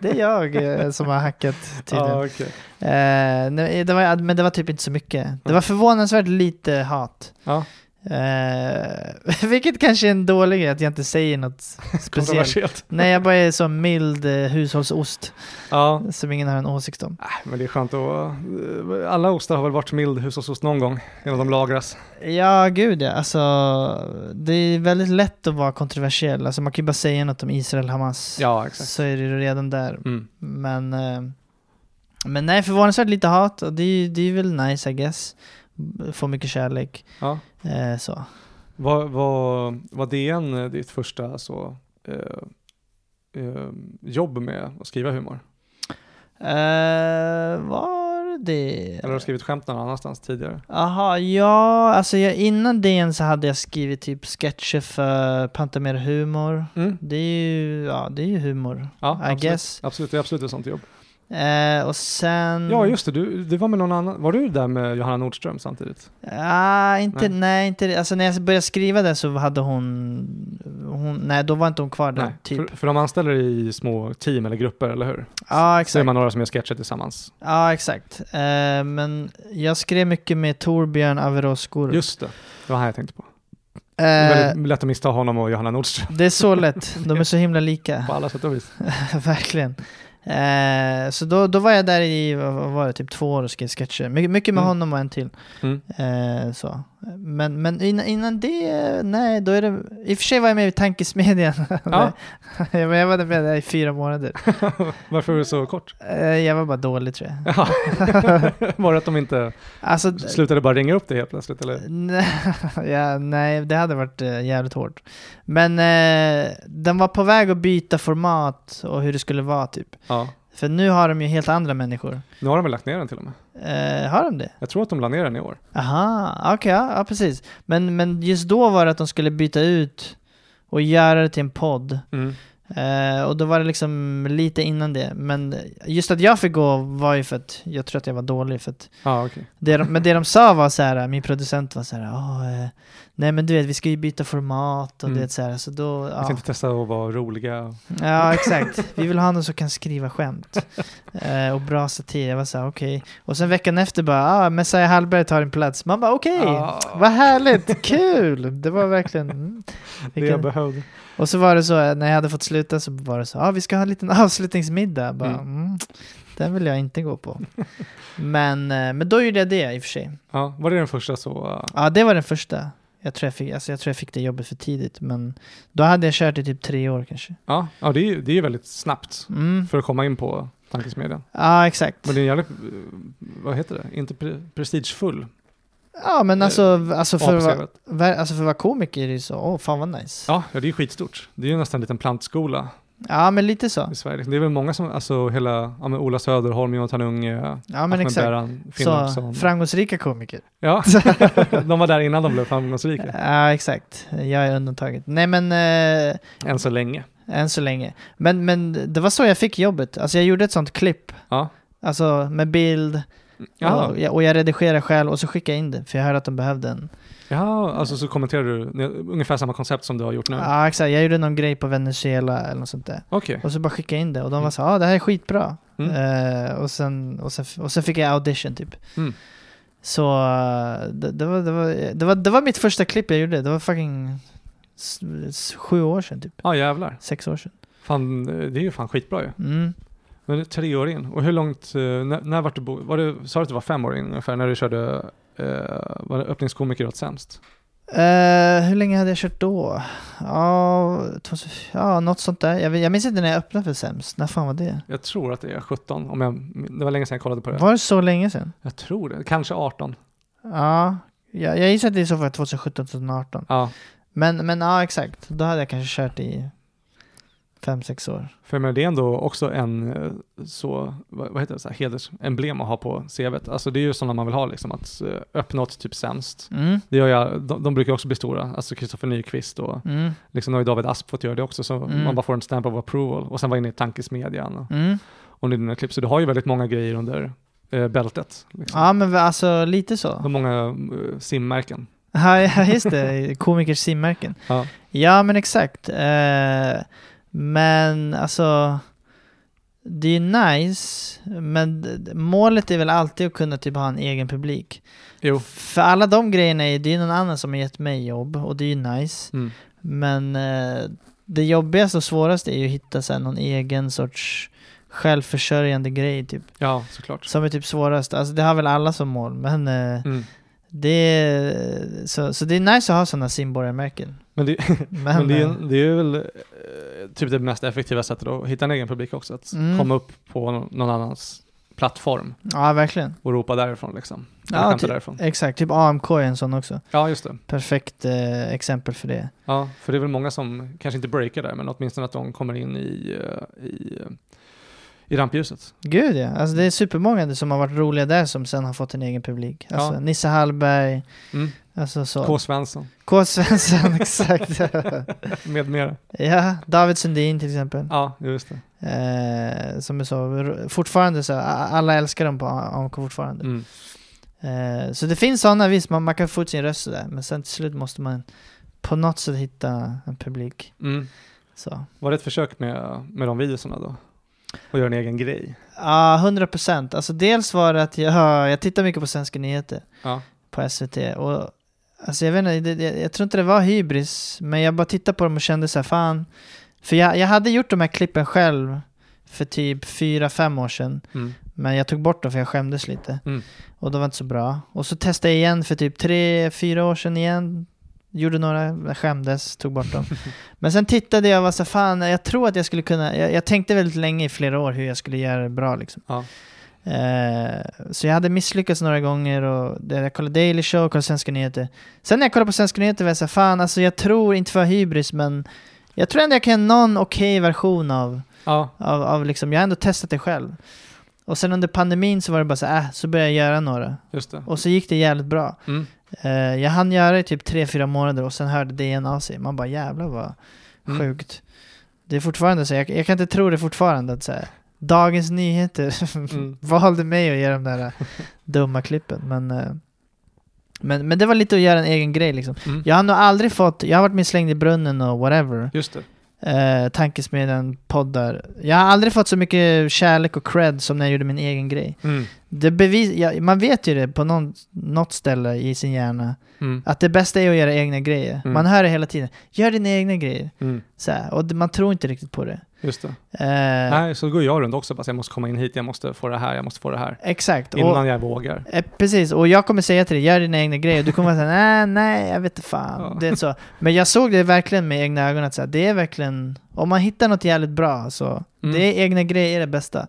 [SPEAKER 3] det är jag eh, som har hackat tydligen.
[SPEAKER 1] Ja, Ah, okej.
[SPEAKER 3] Eh, nej, det var, men det var typ inte så mycket. Det var förvånansvärt lite hat.
[SPEAKER 1] Ja.
[SPEAKER 3] Eh, vilket kanske är en dålig grej, att jag inte säger något speciellt.
[SPEAKER 1] Kontroversiellt.
[SPEAKER 3] Nej, jag bara är så mild eh, hushållsost
[SPEAKER 1] Ja.
[SPEAKER 3] som ingen har en åsikt om.
[SPEAKER 1] Äh, Men det är skönt att... eh, Alla ostar har väl varit mild hushållsost någon gång innan de lagras.
[SPEAKER 3] Ja, gud ja. Alltså, det är väldigt lätt att vara kontroversiell. Alltså, man kan ju bara säga något om Israel-Hamas.
[SPEAKER 1] Ja, exakt.
[SPEAKER 3] så är det ju redan där.
[SPEAKER 1] Mm.
[SPEAKER 3] Men, eh, men nej, förvånansvärt lite hat. Och det är ju det är väl nice, I guess. Få mycket kärlek.
[SPEAKER 1] Ja.
[SPEAKER 3] Eh, så.
[SPEAKER 1] Var, var, var DN eh, ditt första så, eh, eh, jobb med att skriva humor?
[SPEAKER 3] Eh, var det...
[SPEAKER 1] Eller har du skrivit skämt någon annanstans tidigare?
[SPEAKER 3] Aha, ja, alltså jag, innan DN så hade jag skrivit typ sketcher för Pantamera Humor.
[SPEAKER 1] Mm.
[SPEAKER 3] Det är ju, ja, det är ju humor,
[SPEAKER 1] Ja,
[SPEAKER 3] I
[SPEAKER 1] absolut.
[SPEAKER 3] guess.
[SPEAKER 1] Absolut, det är absolut ett sånt jobb.
[SPEAKER 3] Eh, och sen...
[SPEAKER 1] Ja, just det, du, det var med någon annan. Var du där med Johanna Nordström samtidigt?
[SPEAKER 3] Ah, inte,
[SPEAKER 1] Nej.
[SPEAKER 3] nej. inte det. Alltså när jag började skriva det så hade hon, hon nej då var inte hon kvar där, typ.
[SPEAKER 1] För, för de anställer i små team eller grupper, eller hur?
[SPEAKER 3] Ja,
[SPEAKER 1] Så är
[SPEAKER 3] exakt.
[SPEAKER 1] man några som gör sketcher tillsammans.
[SPEAKER 3] Ja, exakt. Eh, men jag skrev mycket med Torbjörn Averås Skorup.
[SPEAKER 1] Just det, det var här jag tänkte på. Det är
[SPEAKER 3] Eh,
[SPEAKER 1] väldigt lätt att missta honom och Johanna Nordström
[SPEAKER 3] det är så lätt, de är så himla lika.
[SPEAKER 1] på alla sätt och vis.
[SPEAKER 3] Verkligen. Eh, så då, då var jag där i, vad vad var det, typ två år och skrev sketcher. My, mycket med
[SPEAKER 1] Mm.
[SPEAKER 3] honom och en till.
[SPEAKER 1] Mm.
[SPEAKER 3] Eh, så. Men, men innan, innan det, nej, då är det... I och för sig var jag med i Tankesmedjan.
[SPEAKER 1] Ja.
[SPEAKER 3] men jag var med där i fyra månader.
[SPEAKER 1] Varför är det så kort?
[SPEAKER 3] Eh, jag var bara dålig tror jag.
[SPEAKER 1] Jaha. Var det att de inte
[SPEAKER 3] Alltså,
[SPEAKER 1] slutade bara ringa upp dig helt plötsligt? Eller?
[SPEAKER 3] Nej, ja, nej, det hade varit eh, jävligt hårt. Men eh, den var på väg att byta format och hur det skulle vara typ.
[SPEAKER 1] Ja.
[SPEAKER 3] För nu har de ju helt andra människor.
[SPEAKER 1] Nu har de väl lagt ner den till och med?
[SPEAKER 3] Eh, har de det?
[SPEAKER 1] Jag tror att de la ner den i år.
[SPEAKER 3] Aha, okej, ja, ja precis. Men, men just då var det att de skulle byta ut och göra det till en podd. Eh, och då var det liksom lite innan det. Men just att jag fick gå var ju för att jag tror att jag var dålig. För att
[SPEAKER 1] Ja, okej.
[SPEAKER 3] Det de, men det de sa var så här, min producent var så här, "Ja, eh, nej men du vet vi ska ju byta format och
[SPEAKER 1] Mm.
[SPEAKER 3] det så här, så då,
[SPEAKER 1] Jag
[SPEAKER 3] ja.
[SPEAKER 1] tänkte testa att vara roliga.
[SPEAKER 3] ja exakt, vi vill ha någon som kan skriva skämt eh, och bra satir. Jag var så här, okej. Och sen veckan efter bara, ah, Messiah Hallberg tar din plats. Man bara, okej,
[SPEAKER 1] Ah.
[SPEAKER 3] vad härligt, kul, det var verkligen, mm.
[SPEAKER 1] Det jag
[SPEAKER 3] Vilken-
[SPEAKER 1] behövde.
[SPEAKER 3] och så var det så, eh, när jag hade fått sluta så var det så, ah, vi ska ha en liten avslutningsmiddag. Bara,
[SPEAKER 1] Mm.
[SPEAKER 3] mm. den vill jag inte gå på. Men, eh, men då gjorde jag det i och för sig.
[SPEAKER 1] Ja, var det den första så? uh,
[SPEAKER 3] Ja, det var den första. Jag tror jag, fick, alltså jag tror jag fick det jobbet för tidigt, men då hade jag kört i typ tre år kanske.
[SPEAKER 1] Ja, ja det, är, ju- det är ju väldigt snabbt
[SPEAKER 3] Mm.
[SPEAKER 1] för att komma in på tankesmedjan.
[SPEAKER 3] Ja, exakt.
[SPEAKER 1] Men det är en jävligt, uh, vad heter det, inte pre prestigefull
[SPEAKER 3] Ja, men alltså, alltså, för att vara-
[SPEAKER 1] apscen.
[SPEAKER 3] ver- alltså för att vara komiker är det ju så, åh fan vad nice. Ja,
[SPEAKER 1] Ja, ja, det är ju skitstort. Det är ju nästan en liten plantskola
[SPEAKER 3] men lite så.
[SPEAKER 1] i Sverige. Det är väl många som, alltså hela, ja men Ola Söderholm, Jonathan Unge,
[SPEAKER 3] Ja, men exakt.
[SPEAKER 1] Beran, Finn
[SPEAKER 3] Så,
[SPEAKER 1] Olsson.
[SPEAKER 3] framgångsrika komiker.
[SPEAKER 1] Ja, de var där innan de blev framgångsrika,
[SPEAKER 3] Ja, exakt. Jag är undantaget. Nej, men eh,
[SPEAKER 1] än så länge.
[SPEAKER 3] än så länge. Men, men det var så jag fick jobbet. Alltså jag gjorde ett sånt klipp.
[SPEAKER 1] Ja.
[SPEAKER 3] Alltså med bild
[SPEAKER 1] Ja,
[SPEAKER 3] och, jag, och jag redigerade själv och så skickade jag in det för jag hörde att de behövde en
[SPEAKER 1] ja alltså så kommenterar du ne- ungefär samma koncept som du har gjort nu.
[SPEAKER 3] Ja, exakt. Jag gjorde någon grej på Venezuela eller något sånt där.
[SPEAKER 1] Okej,
[SPEAKER 3] Och så bara skickade jag in det och de
[SPEAKER 1] Mm.
[SPEAKER 3] var så ja ah, det här är skitbra.
[SPEAKER 1] Mm.
[SPEAKER 3] Eh, och, sen, och, sen, och sen fick jag audition typ.
[SPEAKER 1] Mm.
[SPEAKER 3] Så eh, det, det, var, det, var, det, var, det var mitt första klipp jag gjorde. Det var fucking s- s- sju år sedan typ.
[SPEAKER 1] ja jävlar.
[SPEAKER 3] Sex år sedan.
[SPEAKER 1] Fan, eh, det är ju fan skitbra ju.
[SPEAKER 3] Mm.
[SPEAKER 1] Men det är tre år in. Och hur långt, eh, när, när vart du bo, var det, sa du att det var fem år in ungefär när du körde, eh, var det öppningskomiker åt sämst?
[SPEAKER 3] Eh, hur länge hade jag kört då? Ja, två- ja något sånt där. Jag, vet- jag minns inte när jag öppnade för sämst. När fan var det?
[SPEAKER 1] Jag tror att det är 17, om jag, det var länge sedan jag kollade på det.
[SPEAKER 3] Var det så länge sedan?
[SPEAKER 1] Jag tror det, kanske 18.
[SPEAKER 3] Ja, jag, jag gissar att det är så för 2017, 2018.
[SPEAKER 1] Ja,
[SPEAKER 3] Men, men ja, exakt. Då hade jag kanske kört i fem sex år.
[SPEAKER 1] för jag menar, det är ändå också en eh, så, vad, vad heter det, så här, hedersemblem att ha på CVt. Alltså det är ju sådana man vill ha liksom, att eh, öppna åt typ sämst.
[SPEAKER 3] Mm.
[SPEAKER 1] Det gör jag, de, de brukar också bli stora, alltså Kristoffer Nyqvist och
[SPEAKER 3] Mm.
[SPEAKER 1] liksom nu har ju David Asp fått göra det också, så
[SPEAKER 3] Mm.
[SPEAKER 1] man bara får en stamp of approval. Och sen var jag inne i tankesmedjan. Och,
[SPEAKER 3] Mm.
[SPEAKER 1] om det är dina klipp. Så du har ju väldigt många grejer under eh, bältet. Liksom.
[SPEAKER 3] Ja, men vi- alltså lite
[SPEAKER 1] De
[SPEAKER 3] så.
[SPEAKER 1] många eh, simmärken.
[SPEAKER 3] Ja, ja, just det. Komikers simmärken.
[SPEAKER 1] Ja.
[SPEAKER 3] Ja, men exakt. Eh, men alltså... det är nice, men d- målet är väl alltid att kunna typ ha en egen publik.
[SPEAKER 1] Jo.
[SPEAKER 3] För alla de grejerna är det är någon annan som har gett mig jobb och det är ju nice.
[SPEAKER 1] Mm.
[SPEAKER 3] Men eh, det jobbigaste och svåraste är ju att hitta så här, någon egen sorts självförsörjande grej typ.
[SPEAKER 1] Ja, såklart.
[SPEAKER 3] Som är typ svårast. Alltså det har väl alla som mål, men eh,
[SPEAKER 1] Mm.
[SPEAKER 3] det är, så, så det är nice att ha sådana simborgarmärken.
[SPEAKER 1] Men, det,
[SPEAKER 3] Men,
[SPEAKER 1] men det,
[SPEAKER 3] eh,
[SPEAKER 1] är, det är väl eh, typ det mest effektiva sättet att hitta en egen publik också. Att
[SPEAKER 3] Mm.
[SPEAKER 1] komma upp på nå- någon annans plattform
[SPEAKER 3] ja, verkligen.
[SPEAKER 1] och ropa därifrån liksom.
[SPEAKER 3] Ja,
[SPEAKER 1] Ja,
[SPEAKER 3] ty-
[SPEAKER 1] därifrån.
[SPEAKER 3] Exakt, typ AMK är en sån också.
[SPEAKER 1] ja, just det.
[SPEAKER 3] Perfekt eh, exempel för det.
[SPEAKER 1] Ja, för det är väl många som kanske inte breakar där, men åtminstone att de kommer in i, eh, i, eh, i rampljuset.
[SPEAKER 3] Gud ja, alltså det är supermånga som har varit roliga där som sen har fått en egen publik. Alltså
[SPEAKER 1] Ja.
[SPEAKER 3] Nisse Hallberg,
[SPEAKER 1] Mm.
[SPEAKER 3] alltså så.
[SPEAKER 1] K. Svensson
[SPEAKER 3] K. Svensson, exakt.
[SPEAKER 1] med mera.
[SPEAKER 3] ja, David Sundin till exempel.
[SPEAKER 1] Ja, just det.
[SPEAKER 3] Eh, som är så, r- fortfarande så, a- alla älskar dem på AMK fortfarande.
[SPEAKER 1] Mm.
[SPEAKER 3] Eh, så det finns sådana, visst man, man kan få ut sin röst där, men sen till slut måste man på något sätt hitta en publik.
[SPEAKER 1] Mm.
[SPEAKER 3] Så.
[SPEAKER 1] Var det ett försök med, med de videorna då? Och göra en egen grej?
[SPEAKER 3] Ja, 100 procent. Alltså dels var det att jag, jag tittar mycket på svenska nyheter
[SPEAKER 1] Ja.
[SPEAKER 3] på SVT. Och, alltså jag, vet inte, det, det, jag tror inte det var hybris, men jag bara tittade på dem och kände så här, fan. För jag, jag hade gjort de här klippen själv för typ 4-5 år sedan.
[SPEAKER 1] Mm.
[SPEAKER 3] Men jag tog bort dem för jag skämdes lite.
[SPEAKER 1] Mm.
[SPEAKER 3] Och de var inte så bra. Och så testade jag igen för typ 3-4 år sedan igen. Gjorde några, jag skämdes, tog bort dem. Men sen tittade jag och var så fan, jag tror att jag skulle kunna, jag, jag tänkte väldigt länge i flera år hur jag skulle göra det bra liksom.
[SPEAKER 1] Ja.
[SPEAKER 3] Eh, så jag hade misslyckats några gånger och det- jag kollade Daily Show, kollade Svenska nyheter. Sen när jag kollade på Svenska nyheter var jag så fan alltså jag tror, inte för hybris men jag tror ändå jag kan göra någon okej version av
[SPEAKER 1] Ja,
[SPEAKER 3] av, av liksom, jag har ändå testat det själv. Och sen under pandemin så var det bara så här, äh, så började jag göra några.
[SPEAKER 1] just det.
[SPEAKER 3] Och så gick det jävligt bra.
[SPEAKER 1] Mm.
[SPEAKER 3] Eh, jag hann göra det i typ 3-4 månader och sen hörde DN av sig. Man bara jävlar vad
[SPEAKER 1] Mm.
[SPEAKER 3] sjukt. Det är fortfarande så, jag, jag kan inte tro det fortfarande att så här, Dagens Nyheter
[SPEAKER 1] Mm.
[SPEAKER 3] valde mig att göra de där äh, dumma klippen. Men, eh, men, men det var lite att göra en egen grej liksom.
[SPEAKER 1] Mm.
[SPEAKER 3] Jag har nog aldrig fått, jag har varit misslängd i brunnen och whatever
[SPEAKER 1] Just det.
[SPEAKER 3] eh, Tankesmedjan poddar. Jag har aldrig fått så mycket kärlek och cred som när jag gjorde min egen grej.
[SPEAKER 1] Mm.
[SPEAKER 3] Det bevis, ja, man vet ju det på någon, något ställe i sin hjärna,
[SPEAKER 1] Mm.
[SPEAKER 3] att det bästa är att göra egna grejer.
[SPEAKER 1] Mm.
[SPEAKER 3] Man hör det hela tiden. Gör dina egna grejer.
[SPEAKER 1] Mm.
[SPEAKER 3] Så här, och det- man tror inte riktigt på det.
[SPEAKER 1] Just det.
[SPEAKER 3] Eh,
[SPEAKER 1] Nej, så går jag runt också. Bara, så jag måste komma in hit, jag måste få det här, jag måste få det här.
[SPEAKER 3] Exakt. Och,
[SPEAKER 1] Innan jag vågar.
[SPEAKER 3] eh, precis, och jag kommer säga till dig, gör dina egna grejer. Du kommer vara såhär, nej, nej, jag vet inte fan.
[SPEAKER 1] Ja.
[SPEAKER 3] Det är så. Men jag såg det verkligen med egna ögon, att så här, det är verkligen, om man hittar något jävligt bra så,
[SPEAKER 1] Mm.
[SPEAKER 3] Det är egna grejer är det bästa.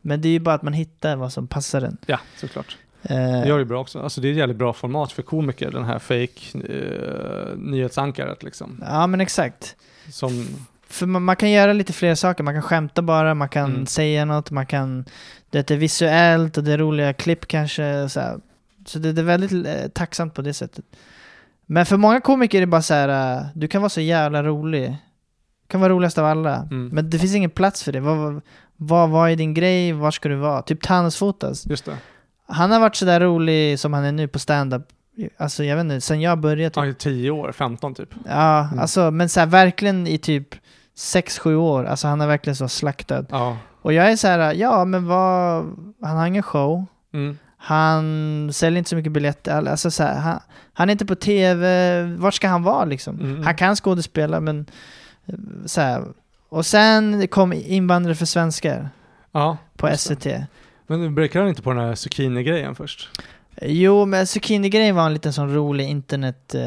[SPEAKER 3] Men det är ju bara att man hittar vad som passar en.
[SPEAKER 1] Ja, såklart. Det
[SPEAKER 3] Eh,
[SPEAKER 1] gör det bra också. Alltså det är ett jävligt bra format för komiker, den här fake eh, nyhetsankaret liksom.
[SPEAKER 3] ja men exakt.
[SPEAKER 1] Som,
[SPEAKER 3] För man, man kan göra lite fler saker. Man kan skämta bara, man kan
[SPEAKER 1] Mm.
[SPEAKER 3] säga något, man kan... Det är visuellt och det är roliga klipp kanske. och Så, här. så det, det är väldigt eh, tacksamt på det sättet. Men för många komiker är det bara så här, eh, du kan vara så jävla rolig. Du kan vara roligast av alla.
[SPEAKER 1] Mm.
[SPEAKER 3] Men det finns ingen plats för det. Vad, vad, vad, vad är din grej? Var ska du vara? Typ Thanos fotas.
[SPEAKER 1] just det.
[SPEAKER 3] Han har varit sådär rolig som han är nu på stand-up. Alltså jag vet inte, sen jag började typ.
[SPEAKER 1] Ja, i 10 år, 15 typ.
[SPEAKER 3] Ja,
[SPEAKER 1] Mm.
[SPEAKER 3] alltså men såhär verkligen i typ 6-7 år. Alltså han har verkligen så slaktat.
[SPEAKER 1] Ja.
[SPEAKER 3] Och jag är så här, ja men vad, han har ingen show.
[SPEAKER 1] Mm.
[SPEAKER 3] Han säljer inte så mycket biljetter. all- Alltså så här, han, han är inte på tv. Vart ska han vara liksom?
[SPEAKER 1] Mm.
[SPEAKER 3] Han kan skådespela men eh, så här. Och sen kom Invandrare för svenskar
[SPEAKER 1] Ja.
[SPEAKER 3] på E
[SPEAKER 1] Just det.
[SPEAKER 3] SVT.
[SPEAKER 1] Men nu breakar han inte på den här zucchini-grejen förist?
[SPEAKER 3] Jo, men zucchini-grejen var en liten sån rolig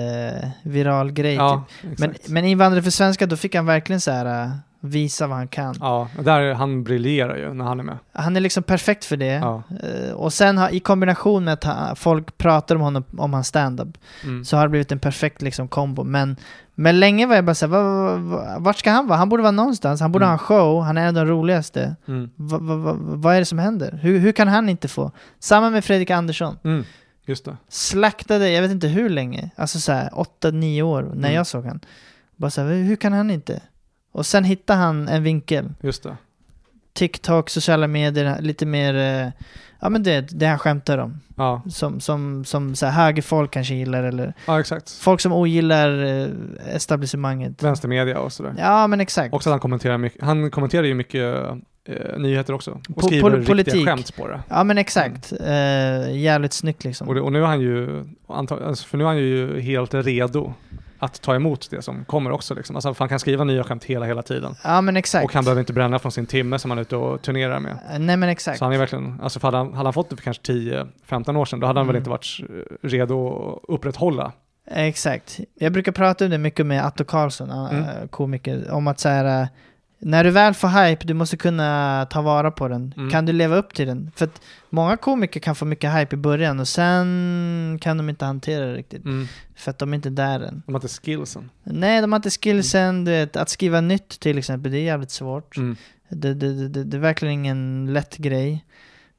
[SPEAKER 3] internet-viral grej.
[SPEAKER 1] Ja,
[SPEAKER 3] typ.
[SPEAKER 1] exakt.
[SPEAKER 3] men, men invandrare för svenska, då fick han verkligen så här eh, visa vad han kan.
[SPEAKER 1] Ja, där han briljerar ju när han är med.
[SPEAKER 3] Han är liksom perfekt för det.
[SPEAKER 1] Ja.
[SPEAKER 3] Eh, och sen har, i kombination med att han, folk pratar om honom, om hans stand-up,
[SPEAKER 1] Mm.
[SPEAKER 3] så har det blivit en perfekt liksom kombo. Men, men länge var jag bara såhär, va, va, va, vart ska han vara? Han borde vara någonstans, han borde
[SPEAKER 1] Mm.
[SPEAKER 3] ha en show, han är en av de roligaste.
[SPEAKER 1] Mm.
[SPEAKER 3] Va, va, va, vad är det som händer? Hur, hur kan han inte få? Samma med Fredrik Andersson.
[SPEAKER 1] Mm. Just det.
[SPEAKER 3] slaktade, jag vet inte hur länge, alltså så här 8-9 år när
[SPEAKER 1] Mm.
[SPEAKER 3] jag såg han. Bara så här, hur kan han inte? Och sen hittade han en vinkel.
[SPEAKER 1] Just det.
[SPEAKER 3] TikTok, sociala medier, lite mer, eh, ja men det, det han skämtar om.
[SPEAKER 1] Ja,
[SPEAKER 3] Som, som, som så här, högerfolk kanske gillar eller
[SPEAKER 1] ja exakt.
[SPEAKER 3] folk som ogillar eh, etablissemanget.
[SPEAKER 1] Vänstermedia och sådär.
[SPEAKER 3] Ja men exakt.
[SPEAKER 1] Också att han kommenterar mycket. Han kommenterar ju mycket eh, nyheter också. Och
[SPEAKER 3] Po-
[SPEAKER 1] skriver
[SPEAKER 3] pol-
[SPEAKER 1] riktiga
[SPEAKER 3] politik.
[SPEAKER 1] skämt på det.
[SPEAKER 3] Ja men exakt. Eh, jävligt snyggt liksom.
[SPEAKER 1] Mm. Och, det, och nu är han ju, antag- alltså för nu är han ju helt redo att ta emot det som kommer också. Liksom. Alltså, för han kan skriva nya skämt hela, hela tiden.
[SPEAKER 3] Ja men exakt.
[SPEAKER 1] Och han behöver inte bränna från sin timme som han är ute och turnerar med.
[SPEAKER 3] Eh, Nej men exakt.
[SPEAKER 1] Så han är verkligen, alltså för hade, han, hade han fått det för kanske 10-15 år sedan, då hade han väl
[SPEAKER 3] Mm.
[SPEAKER 1] inte varit eh, redo att upprätthålla.
[SPEAKER 3] Eh, Exakt. Jag brukar prata om det mycket med Atto Karlsson, eh,
[SPEAKER 1] Mm.
[SPEAKER 3] komiker, om att så här, eh, när du väl får hype, du måste kunna ta vara på den.
[SPEAKER 1] Mm.
[SPEAKER 3] Kan du leva upp till den? För att många komiker kan få mycket hype i början och sen kan de inte hantera det riktigt. För att de är inte där än.
[SPEAKER 1] De har inte skillsen.
[SPEAKER 3] Nej, de har inte skillsen. Du vet, att skriva nytt till exempel, det är jävligt svårt.
[SPEAKER 1] Mm.
[SPEAKER 3] Det, det, det- det, det är verkligen ingen lätt grej.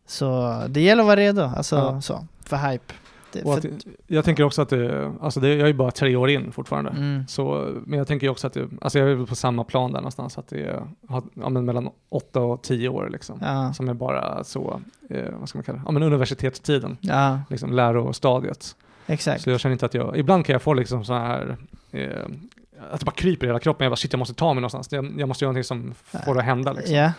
[SPEAKER 3] Så det gäller att vara redo alltså,
[SPEAKER 1] Ja.
[SPEAKER 3] så, för hype. Det,
[SPEAKER 1] Och
[SPEAKER 3] för,
[SPEAKER 1] att, jag tänker också att det, alltså det, jag är ju bara tre år in fortfarande.
[SPEAKER 3] mm,
[SPEAKER 1] Så, men jag tänker ju också att det, alltså jag är väl på samma plan där någonstans, att det är har- ja, men mellan åtta och tio år liksom.
[SPEAKER 3] ja,
[SPEAKER 1] Som är bara så, eh, vad ska man kalla det, ja men universitetstiden,
[SPEAKER 3] ja,
[SPEAKER 1] liksom lärostadiet.
[SPEAKER 3] exakt.
[SPEAKER 1] Så jag känner inte att jag, ibland kan jag få liksom så här, eh, att det bara kryper i hela kroppen, jag bara shit jag måste ta mig någonstans, jag, jag måste göra någonting som får det att hända liksom.
[SPEAKER 3] Ja.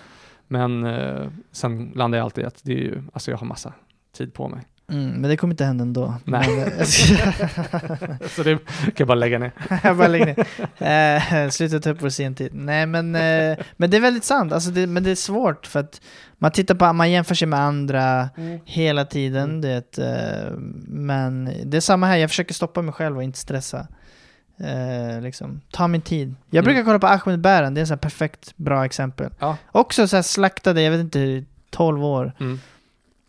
[SPEAKER 1] Men eh, sen landar jag alltid i att det är ju, alltså jag har massa tid på mig.
[SPEAKER 3] Mm, men det kommer inte hända ändå.
[SPEAKER 1] Nej.
[SPEAKER 3] Men,
[SPEAKER 1] Så det kan jag bara lägga ner.
[SPEAKER 3] jag bara lägger ner. Eh, Sluta ta upp vår sen tid. Nej, men, eh, men det är väldigt sant. Alltså det, men det är svårt för att man tittar på, man jämför sig med andra hela
[SPEAKER 1] Mm.
[SPEAKER 3] tiden. Det, eh, men det är samma här, jag försöker stoppa mig själv och inte stressa. Eh, liksom, ta min tid. Jag brukar
[SPEAKER 1] Mm.
[SPEAKER 3] kolla på Ahmed Bären, det är en sån här perfekt bra exempel.
[SPEAKER 1] Ja.
[SPEAKER 3] Också så här slaktade, jag vet inte, hur, 12 år.
[SPEAKER 1] Mm.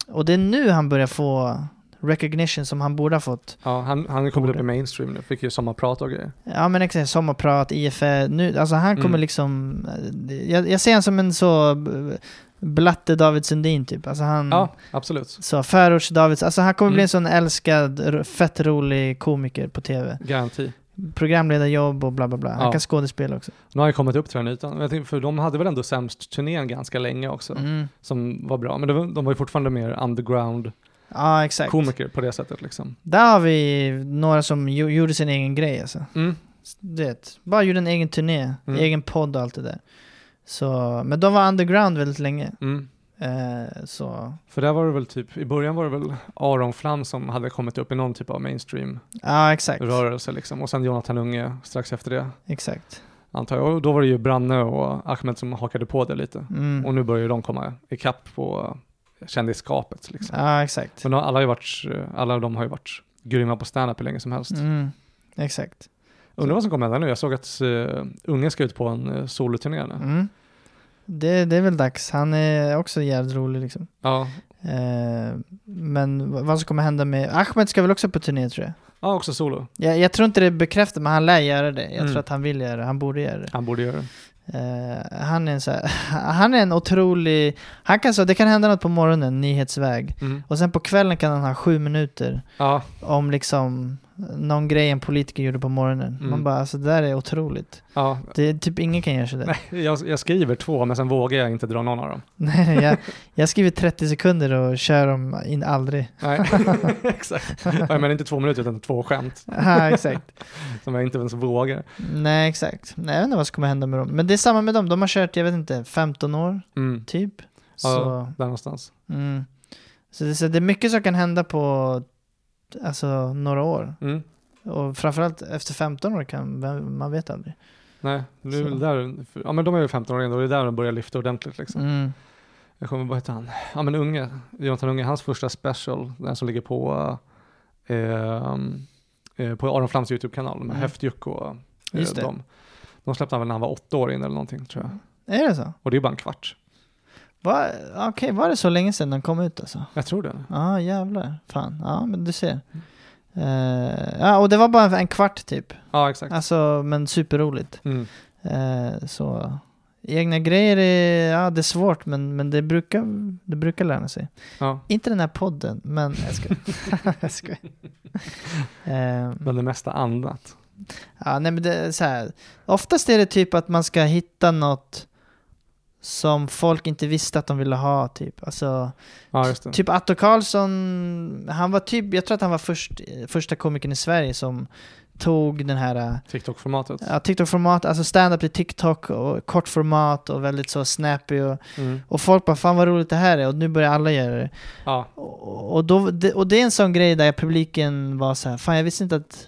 [SPEAKER 3] Och det är nu han börjar få recognition som han borde ha fått.
[SPEAKER 1] Ja, han, han kommer upp i mainstream nu, fick ju sommarprat och grejer.
[SPEAKER 3] Ja men exakt, sommarprat, IFE, nu, alltså han kommer
[SPEAKER 1] Mm.
[SPEAKER 3] liksom, jag, jag ser honom som en så b- blatte David Sundin typ. Alltså han,
[SPEAKER 1] Ja, absolut.
[SPEAKER 3] så förorts David, alltså han kommer
[SPEAKER 1] Mm.
[SPEAKER 3] bli en sån älskad, r- fett rolig komiker på tv.
[SPEAKER 1] Garanti.
[SPEAKER 3] Programledarjobb och bla bla bla. Han
[SPEAKER 1] Ja.
[SPEAKER 3] kan skådespela också.
[SPEAKER 1] Nu har han kommit upp till den ytan. Jag tänkte, för de hade väl ändå sämst turnén ganska länge också,
[SPEAKER 3] Mm.
[SPEAKER 1] som var bra. Men det var, de var ju fortfarande mer underground-komiker
[SPEAKER 3] Ja exakt.
[SPEAKER 1] på det sättet liksom.
[SPEAKER 3] Där har vi några som gjo- gjorde sin egen grej alltså.
[SPEAKER 1] Mm.
[SPEAKER 3] Du vet, bara gjorde en egen turné,
[SPEAKER 1] Mm.
[SPEAKER 3] egen podd och allt det där. Så, men de var underground väldigt länge.
[SPEAKER 1] Mm.
[SPEAKER 3] Eh, så,
[SPEAKER 1] För där var det väl typ, i början var det väl Aron Flam som hade kommit upp i någon typ av mainstream-rörelse
[SPEAKER 3] ja exakt.
[SPEAKER 1] liksom. Och sen Jonathan Unge strax efter det,
[SPEAKER 3] Exakt.
[SPEAKER 1] antar jag. Och då var det ju Branne och Ahmed som hakade på det lite.
[SPEAKER 3] Mm.
[SPEAKER 1] Och nu börjar ju de komma ikapp på kändisskapet liksom.
[SPEAKER 3] Ja, exakt.
[SPEAKER 1] Men alla, har ju varit, eh, alla de har ju varit grymma på stand-up hur länge som helst.
[SPEAKER 3] Mm. Exakt.
[SPEAKER 1] Undrar vad som kommer hända nu. Jag såg att uh, Unge ska ut på en uh, soloturné nu.
[SPEAKER 3] Mm. Det, det är väl dags. Han är också jävligt rolig liksom.
[SPEAKER 1] Ja.
[SPEAKER 3] Eh, men v- vad som kommer hända med... Ahmed ska väl också på turné tror jag.
[SPEAKER 1] ja, också solo.
[SPEAKER 3] Jag, jag tror inte det är bekräftat men han lär göra det. Jag
[SPEAKER 1] Mm.
[SPEAKER 3] tror att han vill göra det. Han borde göra det.
[SPEAKER 1] Han borde göra det.
[SPEAKER 3] Eh, han, är en så här, han är en otrolig... Han kan så, det kan hända något på morgonen, nyhetsväg.
[SPEAKER 1] Mm.
[SPEAKER 3] Och sen på kvällen kan han ha sju minuter
[SPEAKER 1] Ja,
[SPEAKER 3] om liksom någon grej en politiker gjorde på morgonen.
[SPEAKER 1] Mm.
[SPEAKER 3] Man bara, alltså det där är otroligt.
[SPEAKER 1] ja.
[SPEAKER 3] Det är typ ingen kan göra sådär. Nej,
[SPEAKER 1] Jag, jag skriver två men sen vågar jag inte dra någon av dem.
[SPEAKER 3] Nej jag, jag skriver 30 sekunder och kör dem in aldrig.
[SPEAKER 1] Nej, exakt. Ja, Jag menar inte två minuter utan två skämt
[SPEAKER 3] Ja, exakt.
[SPEAKER 1] som jag inte ens vågar.
[SPEAKER 3] Nej, exakt. Nej, jag vet inte vad som kommer hända med dem. Men det är samma med dem. De har kört, jag vet inte, 15 år
[SPEAKER 1] Mm.
[SPEAKER 3] typ.
[SPEAKER 1] Ja.
[SPEAKER 3] Så,
[SPEAKER 1] Där någonstans.
[SPEAKER 3] mm. så, det, så det är mycket som kan hända på alltså, några år.
[SPEAKER 1] Mm.
[SPEAKER 3] Och framförallt efter 15 år kan vem- man vet aldrig.
[SPEAKER 1] Nej, det är
[SPEAKER 3] Så.
[SPEAKER 1] väl där, ja men de är ju 15 år ändå, det är där de börjar lyfta ordentligt liksom.
[SPEAKER 3] Mm.
[SPEAKER 1] Jag kommer vad heter han? Ja men Unge, Jonathan Unge, hans första special, den som ligger på, eh, eh, på Aron Flams YouTube-kanal, med
[SPEAKER 3] Mm.
[SPEAKER 1] Höftjuck och eh,
[SPEAKER 3] Just det. Mm.
[SPEAKER 1] de. De släppte han väl när han var åtta år in eller någonting tror jag.
[SPEAKER 3] Är det så?
[SPEAKER 1] Och det är bara en kvart.
[SPEAKER 3] Va, Okej, var det så länge sedan den kom ut alltså?
[SPEAKER 1] Jag tror det.
[SPEAKER 3] Ja, jävlar. Fan. Ja, men du ser. Eh, ja, och det var bara en kvart typ.
[SPEAKER 1] Ja exakt.
[SPEAKER 3] Alltså, men superroligt.
[SPEAKER 1] Mm.
[SPEAKER 3] Eh, så egna grejer är, ja, det är svårt, men, men det, brukar, det brukar lära sig.
[SPEAKER 1] Ja.
[SPEAKER 3] Inte den här podden, men jag skojar. jag skojar. Eh,
[SPEAKER 1] Men det mesta annat.
[SPEAKER 3] ja, nej, men det är så här. Oftast är det typ att man ska hitta något som folk inte visste att de ville ha, typ. Alltså,
[SPEAKER 1] Ja just det.
[SPEAKER 3] Typ Atto Karlsson, han var typ, jag tror att han var först, eh, första komikern i Sverige som tog den här eh,
[SPEAKER 1] TikTok-formatet.
[SPEAKER 3] ja, TikTok-format, alltså stand-up i TikTok och kortformat och väldigt så snappy och,
[SPEAKER 1] Mm.
[SPEAKER 3] och folk bara fan vad roligt det här är och nu börjar alla göra det.
[SPEAKER 1] Ja,
[SPEAKER 3] Och, och, då, det, och det är en sån grej där publiken var så här, fan jag visste inte att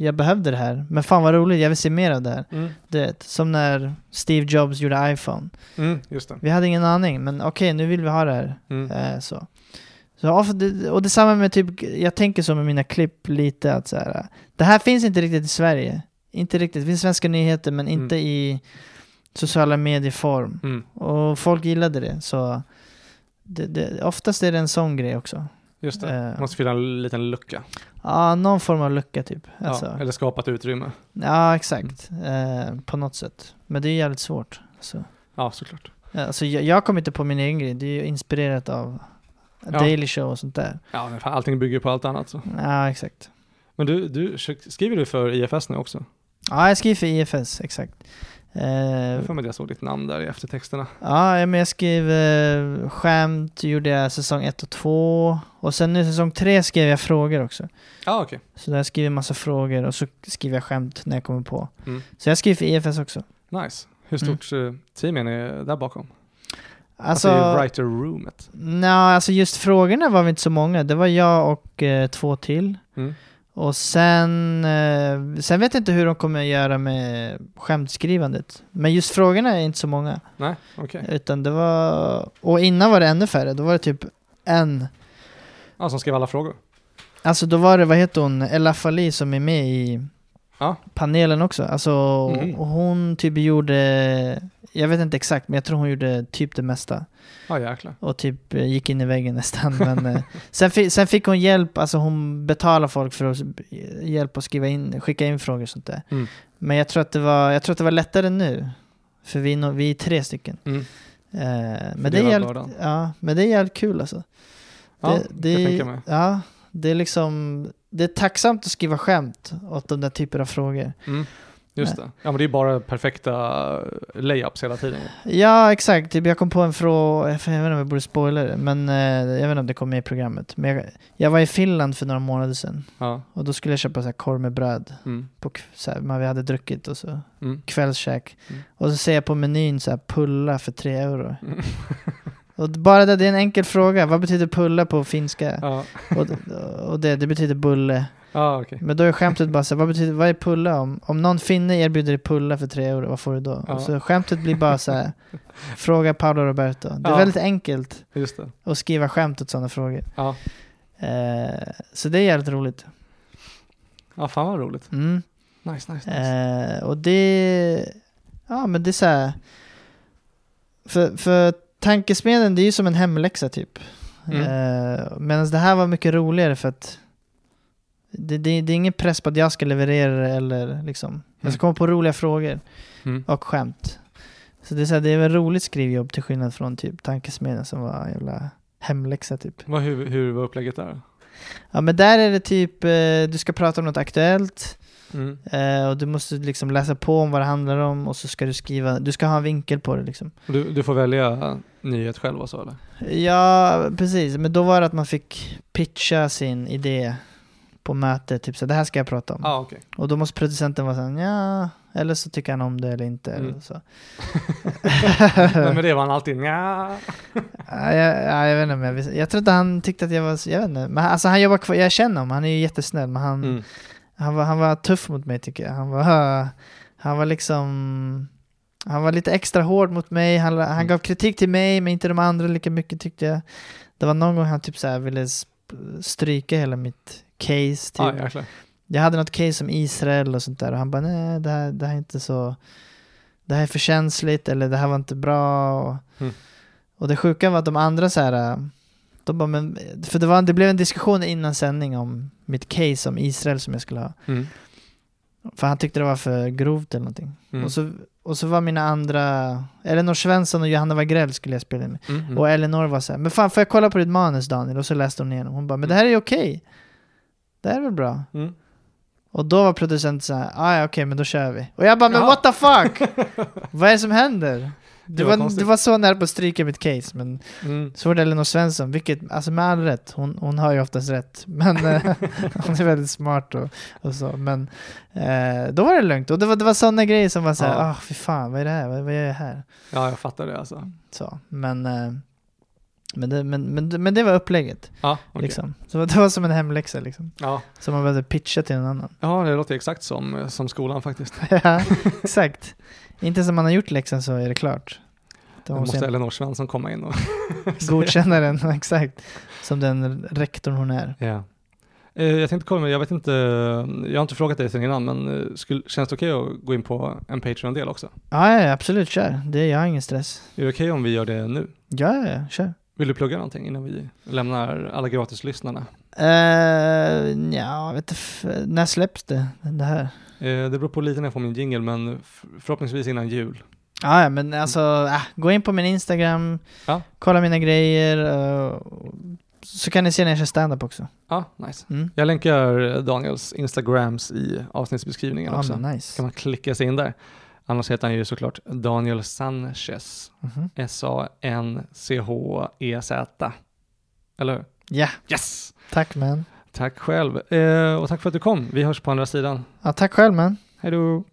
[SPEAKER 3] jag behövde det här, men fan vad roligt, jag vill se mer av det här.
[SPEAKER 1] mm.
[SPEAKER 3] Du vet, som när Steve Jobs gjorde iPhone.
[SPEAKER 1] Mm, just det.
[SPEAKER 3] Vi hade ingen aning, men okej nu vill vi ha det här.
[SPEAKER 1] Mm.
[SPEAKER 3] Eh, så. Så, ja, för det, och detsamma med typ, jag tänker så med mina klipp lite att så här, eh, det här finns inte riktigt i Sverige. Inte riktigt, det finns svenska nyheter men inte i sociala medieform.
[SPEAKER 1] Mm.
[SPEAKER 3] Och folk gillade det så det, det, oftast är det en sån grej också.
[SPEAKER 1] Just det.
[SPEAKER 3] Eh,
[SPEAKER 1] Måste fylla en liten lucka.
[SPEAKER 3] ja, någon form av lucka typ. Alltså,
[SPEAKER 1] Ja, Mm.
[SPEAKER 3] ja,
[SPEAKER 1] eller skapa ett utrymme.
[SPEAKER 3] exakt. Eh, på något sätt. Men det är jävligt svårt. Så.
[SPEAKER 1] Ja, såklart.
[SPEAKER 3] Ja, Alltså, jag, jag kom inte på min egen grej, det är ju inspirerat av
[SPEAKER 1] Ja.
[SPEAKER 3] Daily Show och sånt där.
[SPEAKER 1] Ja, men fan, allting bygger på allt annat. Så.
[SPEAKER 3] Ja, exakt.
[SPEAKER 1] Men du, du, skriver du för IFS nu också?
[SPEAKER 3] Ja, jag skriver för IFS, exakt. Eh,
[SPEAKER 1] Jag för mig att jag såg ditt namn där i eftertexterna.
[SPEAKER 3] ja, men jag skrev eh, skämt, gjorde jag säsong 1 och 2. Och sen nu säsong 3 skrev jag frågor också.
[SPEAKER 1] Ja, okej.
[SPEAKER 3] Så där skriver jag massa frågor och så skriver jag skämt när jag kommer på.
[SPEAKER 1] Mm.
[SPEAKER 3] Så jag skriver för IFS också.
[SPEAKER 1] Nice. Hur stort mm. team är ni där bakom?
[SPEAKER 3] Alltså,
[SPEAKER 1] alltså i writer-roomet.
[SPEAKER 3] nej, alltså just frågorna var vi inte så många. Det var jag och eh, två till.
[SPEAKER 1] Mm.
[SPEAKER 3] Och sen, eh, sen vet jag inte hur de kommer att göra med skämtskrivandet. Men just frågorna är inte så många.
[SPEAKER 1] Nej, okej.
[SPEAKER 3] Utan det var, och innan var det ännu färre. Då var det typ en.
[SPEAKER 1] Ja, som skrev alla frågor.
[SPEAKER 3] Alltså då var det, vad heter hon, Ella Fali som är med i
[SPEAKER 1] Ja.
[SPEAKER 3] panelen också. Alltså
[SPEAKER 1] Mhm.
[SPEAKER 3] och hon typ gjorde, jag vet inte exakt, men jag tror hon gjorde typ det mesta.
[SPEAKER 1] Ja, jäklar.
[SPEAKER 3] Och typ eh, gick in i väggen nästan. Men, eh, sen, fi- sen fick hon hjälp, alltså hon betalade folk för att eh, hjälpa att skriva in, skicka in frågor och sånt där.
[SPEAKER 1] Mm.
[SPEAKER 3] Men jag tror, att det var, jag tror att det var lättare nu. För vi, är nog- vi är tre stycken.
[SPEAKER 1] Mm.
[SPEAKER 3] Eh, men, det
[SPEAKER 1] Fördelar
[SPEAKER 3] är jävligt,
[SPEAKER 1] bördan.
[SPEAKER 3] ja, men det är jävligt kul alltså.
[SPEAKER 1] Ja,
[SPEAKER 3] det, det,
[SPEAKER 1] kan jag
[SPEAKER 3] är-
[SPEAKER 1] tänka mig.
[SPEAKER 3] Ja, det är liksom, det är tacksamt att skriva skämt åt de där typen av frågor.
[SPEAKER 1] Mm. Just det. Ja, men det är bara perfekta eh, layups hela tiden.
[SPEAKER 3] Ja, exakt. Typ, jag kom på en fråga, jag vet inte om jag borde spoila det, men eh, jag vet inte om det kom med i programmet. Men jag, jag var i Finland för några månader sedan
[SPEAKER 1] Ja.
[SPEAKER 3] och då skulle jag köpa så här korv med bröd.
[SPEAKER 1] Mm.
[SPEAKER 3] På, k- så här, men vi hade druckit och så
[SPEAKER 1] Mm.
[SPEAKER 3] kvällskäk.
[SPEAKER 1] Mm.
[SPEAKER 3] Och så ser jag på menyn så här pulla för tre euro. Och bara det, det är en enkel fråga. Vad betyder pulla på finska?
[SPEAKER 1] Ja,
[SPEAKER 3] Och, och det, det betyder bulle.
[SPEAKER 1] ja okej.
[SPEAKER 3] Men då är skämtet bara så här, vad betyder, vad är pulla om? Om någon finne erbjuder dig pulla för tre euro, vad får du då?
[SPEAKER 1] Ja.
[SPEAKER 3] Och så skämtet blir bara så här, fråga Paolo Roberto. Det är
[SPEAKER 1] Ja.
[SPEAKER 3] väldigt enkelt
[SPEAKER 1] Just det.
[SPEAKER 3] att skriva skämt åt sådana frågor.
[SPEAKER 1] Ja.
[SPEAKER 3] Eh, så det är jävligt roligt.
[SPEAKER 1] ja, fan vad roligt.
[SPEAKER 3] Mm.
[SPEAKER 1] Nice, nice, nice.
[SPEAKER 3] Eh, och det, ja men det är så här, för, för tankesmedjan det är ju som en hemläxa typ.
[SPEAKER 1] Mm.
[SPEAKER 3] Eh, Medan det här var mycket roligare för att det, det, det är ingen press på att jag ska leverera det eller liksom, jag ska
[SPEAKER 1] Mm.
[SPEAKER 3] komma på roliga frågor
[SPEAKER 1] Mm.
[SPEAKER 3] och skämt. Så det är, så här, det är väl roligt skrivjobb till skillnad från typ tankesmedjan som var en jävla hemläxa typ.
[SPEAKER 1] Vad, hur, hur var upplägget där?
[SPEAKER 3] Ja men där är det typ, eh, du ska prata om något aktuellt,
[SPEAKER 1] Mm.
[SPEAKER 3] Eh, och du måste liksom läsa på om vad det handlar om och så ska du skriva, du ska ha en vinkel på det liksom.
[SPEAKER 1] Du, du får välja nyhet själv och så
[SPEAKER 3] Mm.
[SPEAKER 1] eller?
[SPEAKER 3] Ja, precis. Men då var det att man fick pitcha sin idé på mötet, typ så här, det här ska jag prata om.
[SPEAKER 1] Ja, ah, okej.
[SPEAKER 3] Och då måste producenten vara såhär, ja, eller så tycker han om det eller inte.
[SPEAKER 1] Mm.
[SPEAKER 3] Eller så.
[SPEAKER 1] Nej, men det var han alltid nja.
[SPEAKER 3] Ja, jag, ja, jag vet inte om jag visste. Jag tror inte han tyckte att jag var, så- jag vet inte. Men han- alltså han jobbar kvar, jag känner honom, han är ju jättesnäll. Men han,
[SPEAKER 1] Mm.
[SPEAKER 3] Han var, han var tuff mot mig tycker jag. Han var, han var liksom... Han var lite extra hård mot mig. Han, han
[SPEAKER 1] Mm.
[SPEAKER 3] gav kritik till mig men inte de andra lika mycket tyckte jag. Det var någon gång han typ så här ville sp- stryka hela mitt case. Typ.
[SPEAKER 1] Ah, jäklar.
[SPEAKER 3] Jag hade något case om Israel och sånt där och han bara nej det här, det här är inte så... Det här är för känsligt eller det här var inte bra. Och,
[SPEAKER 1] Mm.
[SPEAKER 3] och det sjuka var att de andra så här... äh, De bara, men, för det, var, det blev en diskussion innan sändning om mitt case om Israel som jag skulle ha.
[SPEAKER 1] Mm.
[SPEAKER 3] För han tyckte det var för grovt eller någonting.
[SPEAKER 1] Mm.
[SPEAKER 3] Och, så, och så var mina andra... Elinor Svensson och Johanna Wagrell skulle jag spela in med.
[SPEAKER 1] Mm, mm.
[SPEAKER 3] Och Elinor var så här, men fan får jag kolla på ditt manus Daniel? Och så läste hon igenom. Hon bara, men det här är ju okej. Det här är väl bra?
[SPEAKER 1] Mm.
[SPEAKER 3] Och då var producenten så här, ah, ja okej men då kör vi. Och jag bara, men
[SPEAKER 1] Ja.
[SPEAKER 3] what the fuck? Vad är det som händer? Du var, du var så nära på att stryka mitt case, men
[SPEAKER 1] Mm.
[SPEAKER 3] så var det Elinor Svensson, vilket, alltså med all rätt, hon, hon har ju oftast rätt. Men eh, hon är väldigt smart och, och så. Men eh, då var det lugnt. Och det var, det var sådana grejer som var såhär,
[SPEAKER 1] Ja.
[SPEAKER 3] ah fy fan, vad är det här? Vad, vad gör jag här?
[SPEAKER 1] Ja, jag fattar det alltså.
[SPEAKER 3] Så, men, eh, men, det, men, men, det- men det var upplägget.
[SPEAKER 1] Ja, okej.
[SPEAKER 3] Liksom. Så det var som en hemläxa liksom.
[SPEAKER 1] ja.
[SPEAKER 3] Som man behövde pitcha till någon annan.
[SPEAKER 1] ja, det låter exakt som, eh, som skolan faktiskt.
[SPEAKER 3] ja, exakt. Inte som man har gjort läxan så är det klart. Då
[SPEAKER 1] Nu måste
[SPEAKER 3] måste jag
[SPEAKER 1] Elinor Svensson komma in och...
[SPEAKER 3] godkänna den, exakt. Som den rektorn hon är.
[SPEAKER 1] Ja. Eh, Jag tänkte kolla med, jag vet inte, jag har inte frågat dig sen innan, men eh, skulle, känns det okej att gå in på en Patreon-del också?
[SPEAKER 3] Ja, ja, ja, absolut, kör. Det, jag har ingen stress.
[SPEAKER 1] Är det okej om vi gör det nu?
[SPEAKER 3] Ja, ja, ja kör.
[SPEAKER 1] Vill du plugga någonting innan vi lämnar alla gratislyssnarna?
[SPEAKER 3] Uh, ja, vet du, f- när släpps det, det här?
[SPEAKER 1] Eh, Det beror på lite när jag får min jingle, men f- förhoppningsvis innan jul.
[SPEAKER 3] Ja, ja, men alltså, ah, gå in på min Instagram,
[SPEAKER 1] Ja.
[SPEAKER 3] kolla mina grejer, eh, och- så kan ni se när jag kör stand-up också.
[SPEAKER 1] Ja, nice.
[SPEAKER 3] Mm.
[SPEAKER 1] Jag länkar Daniels Instagrams i avsnittsbeskrivningen
[SPEAKER 3] Ja,
[SPEAKER 1] också.
[SPEAKER 3] men nice.
[SPEAKER 1] kan man klicka sig in där. Annars heter han ju såklart Daniel Sanchez.
[SPEAKER 3] Mhm.
[SPEAKER 1] S-A-N-C-H-E-Z. E Eller hur?
[SPEAKER 3] Ja,
[SPEAKER 1] Yes!
[SPEAKER 3] tack man.
[SPEAKER 1] Tack själv. Eh, och tack för att du kom. Vi hörs på andra sidan.
[SPEAKER 3] Ja, tack själv man.
[SPEAKER 1] Hej då!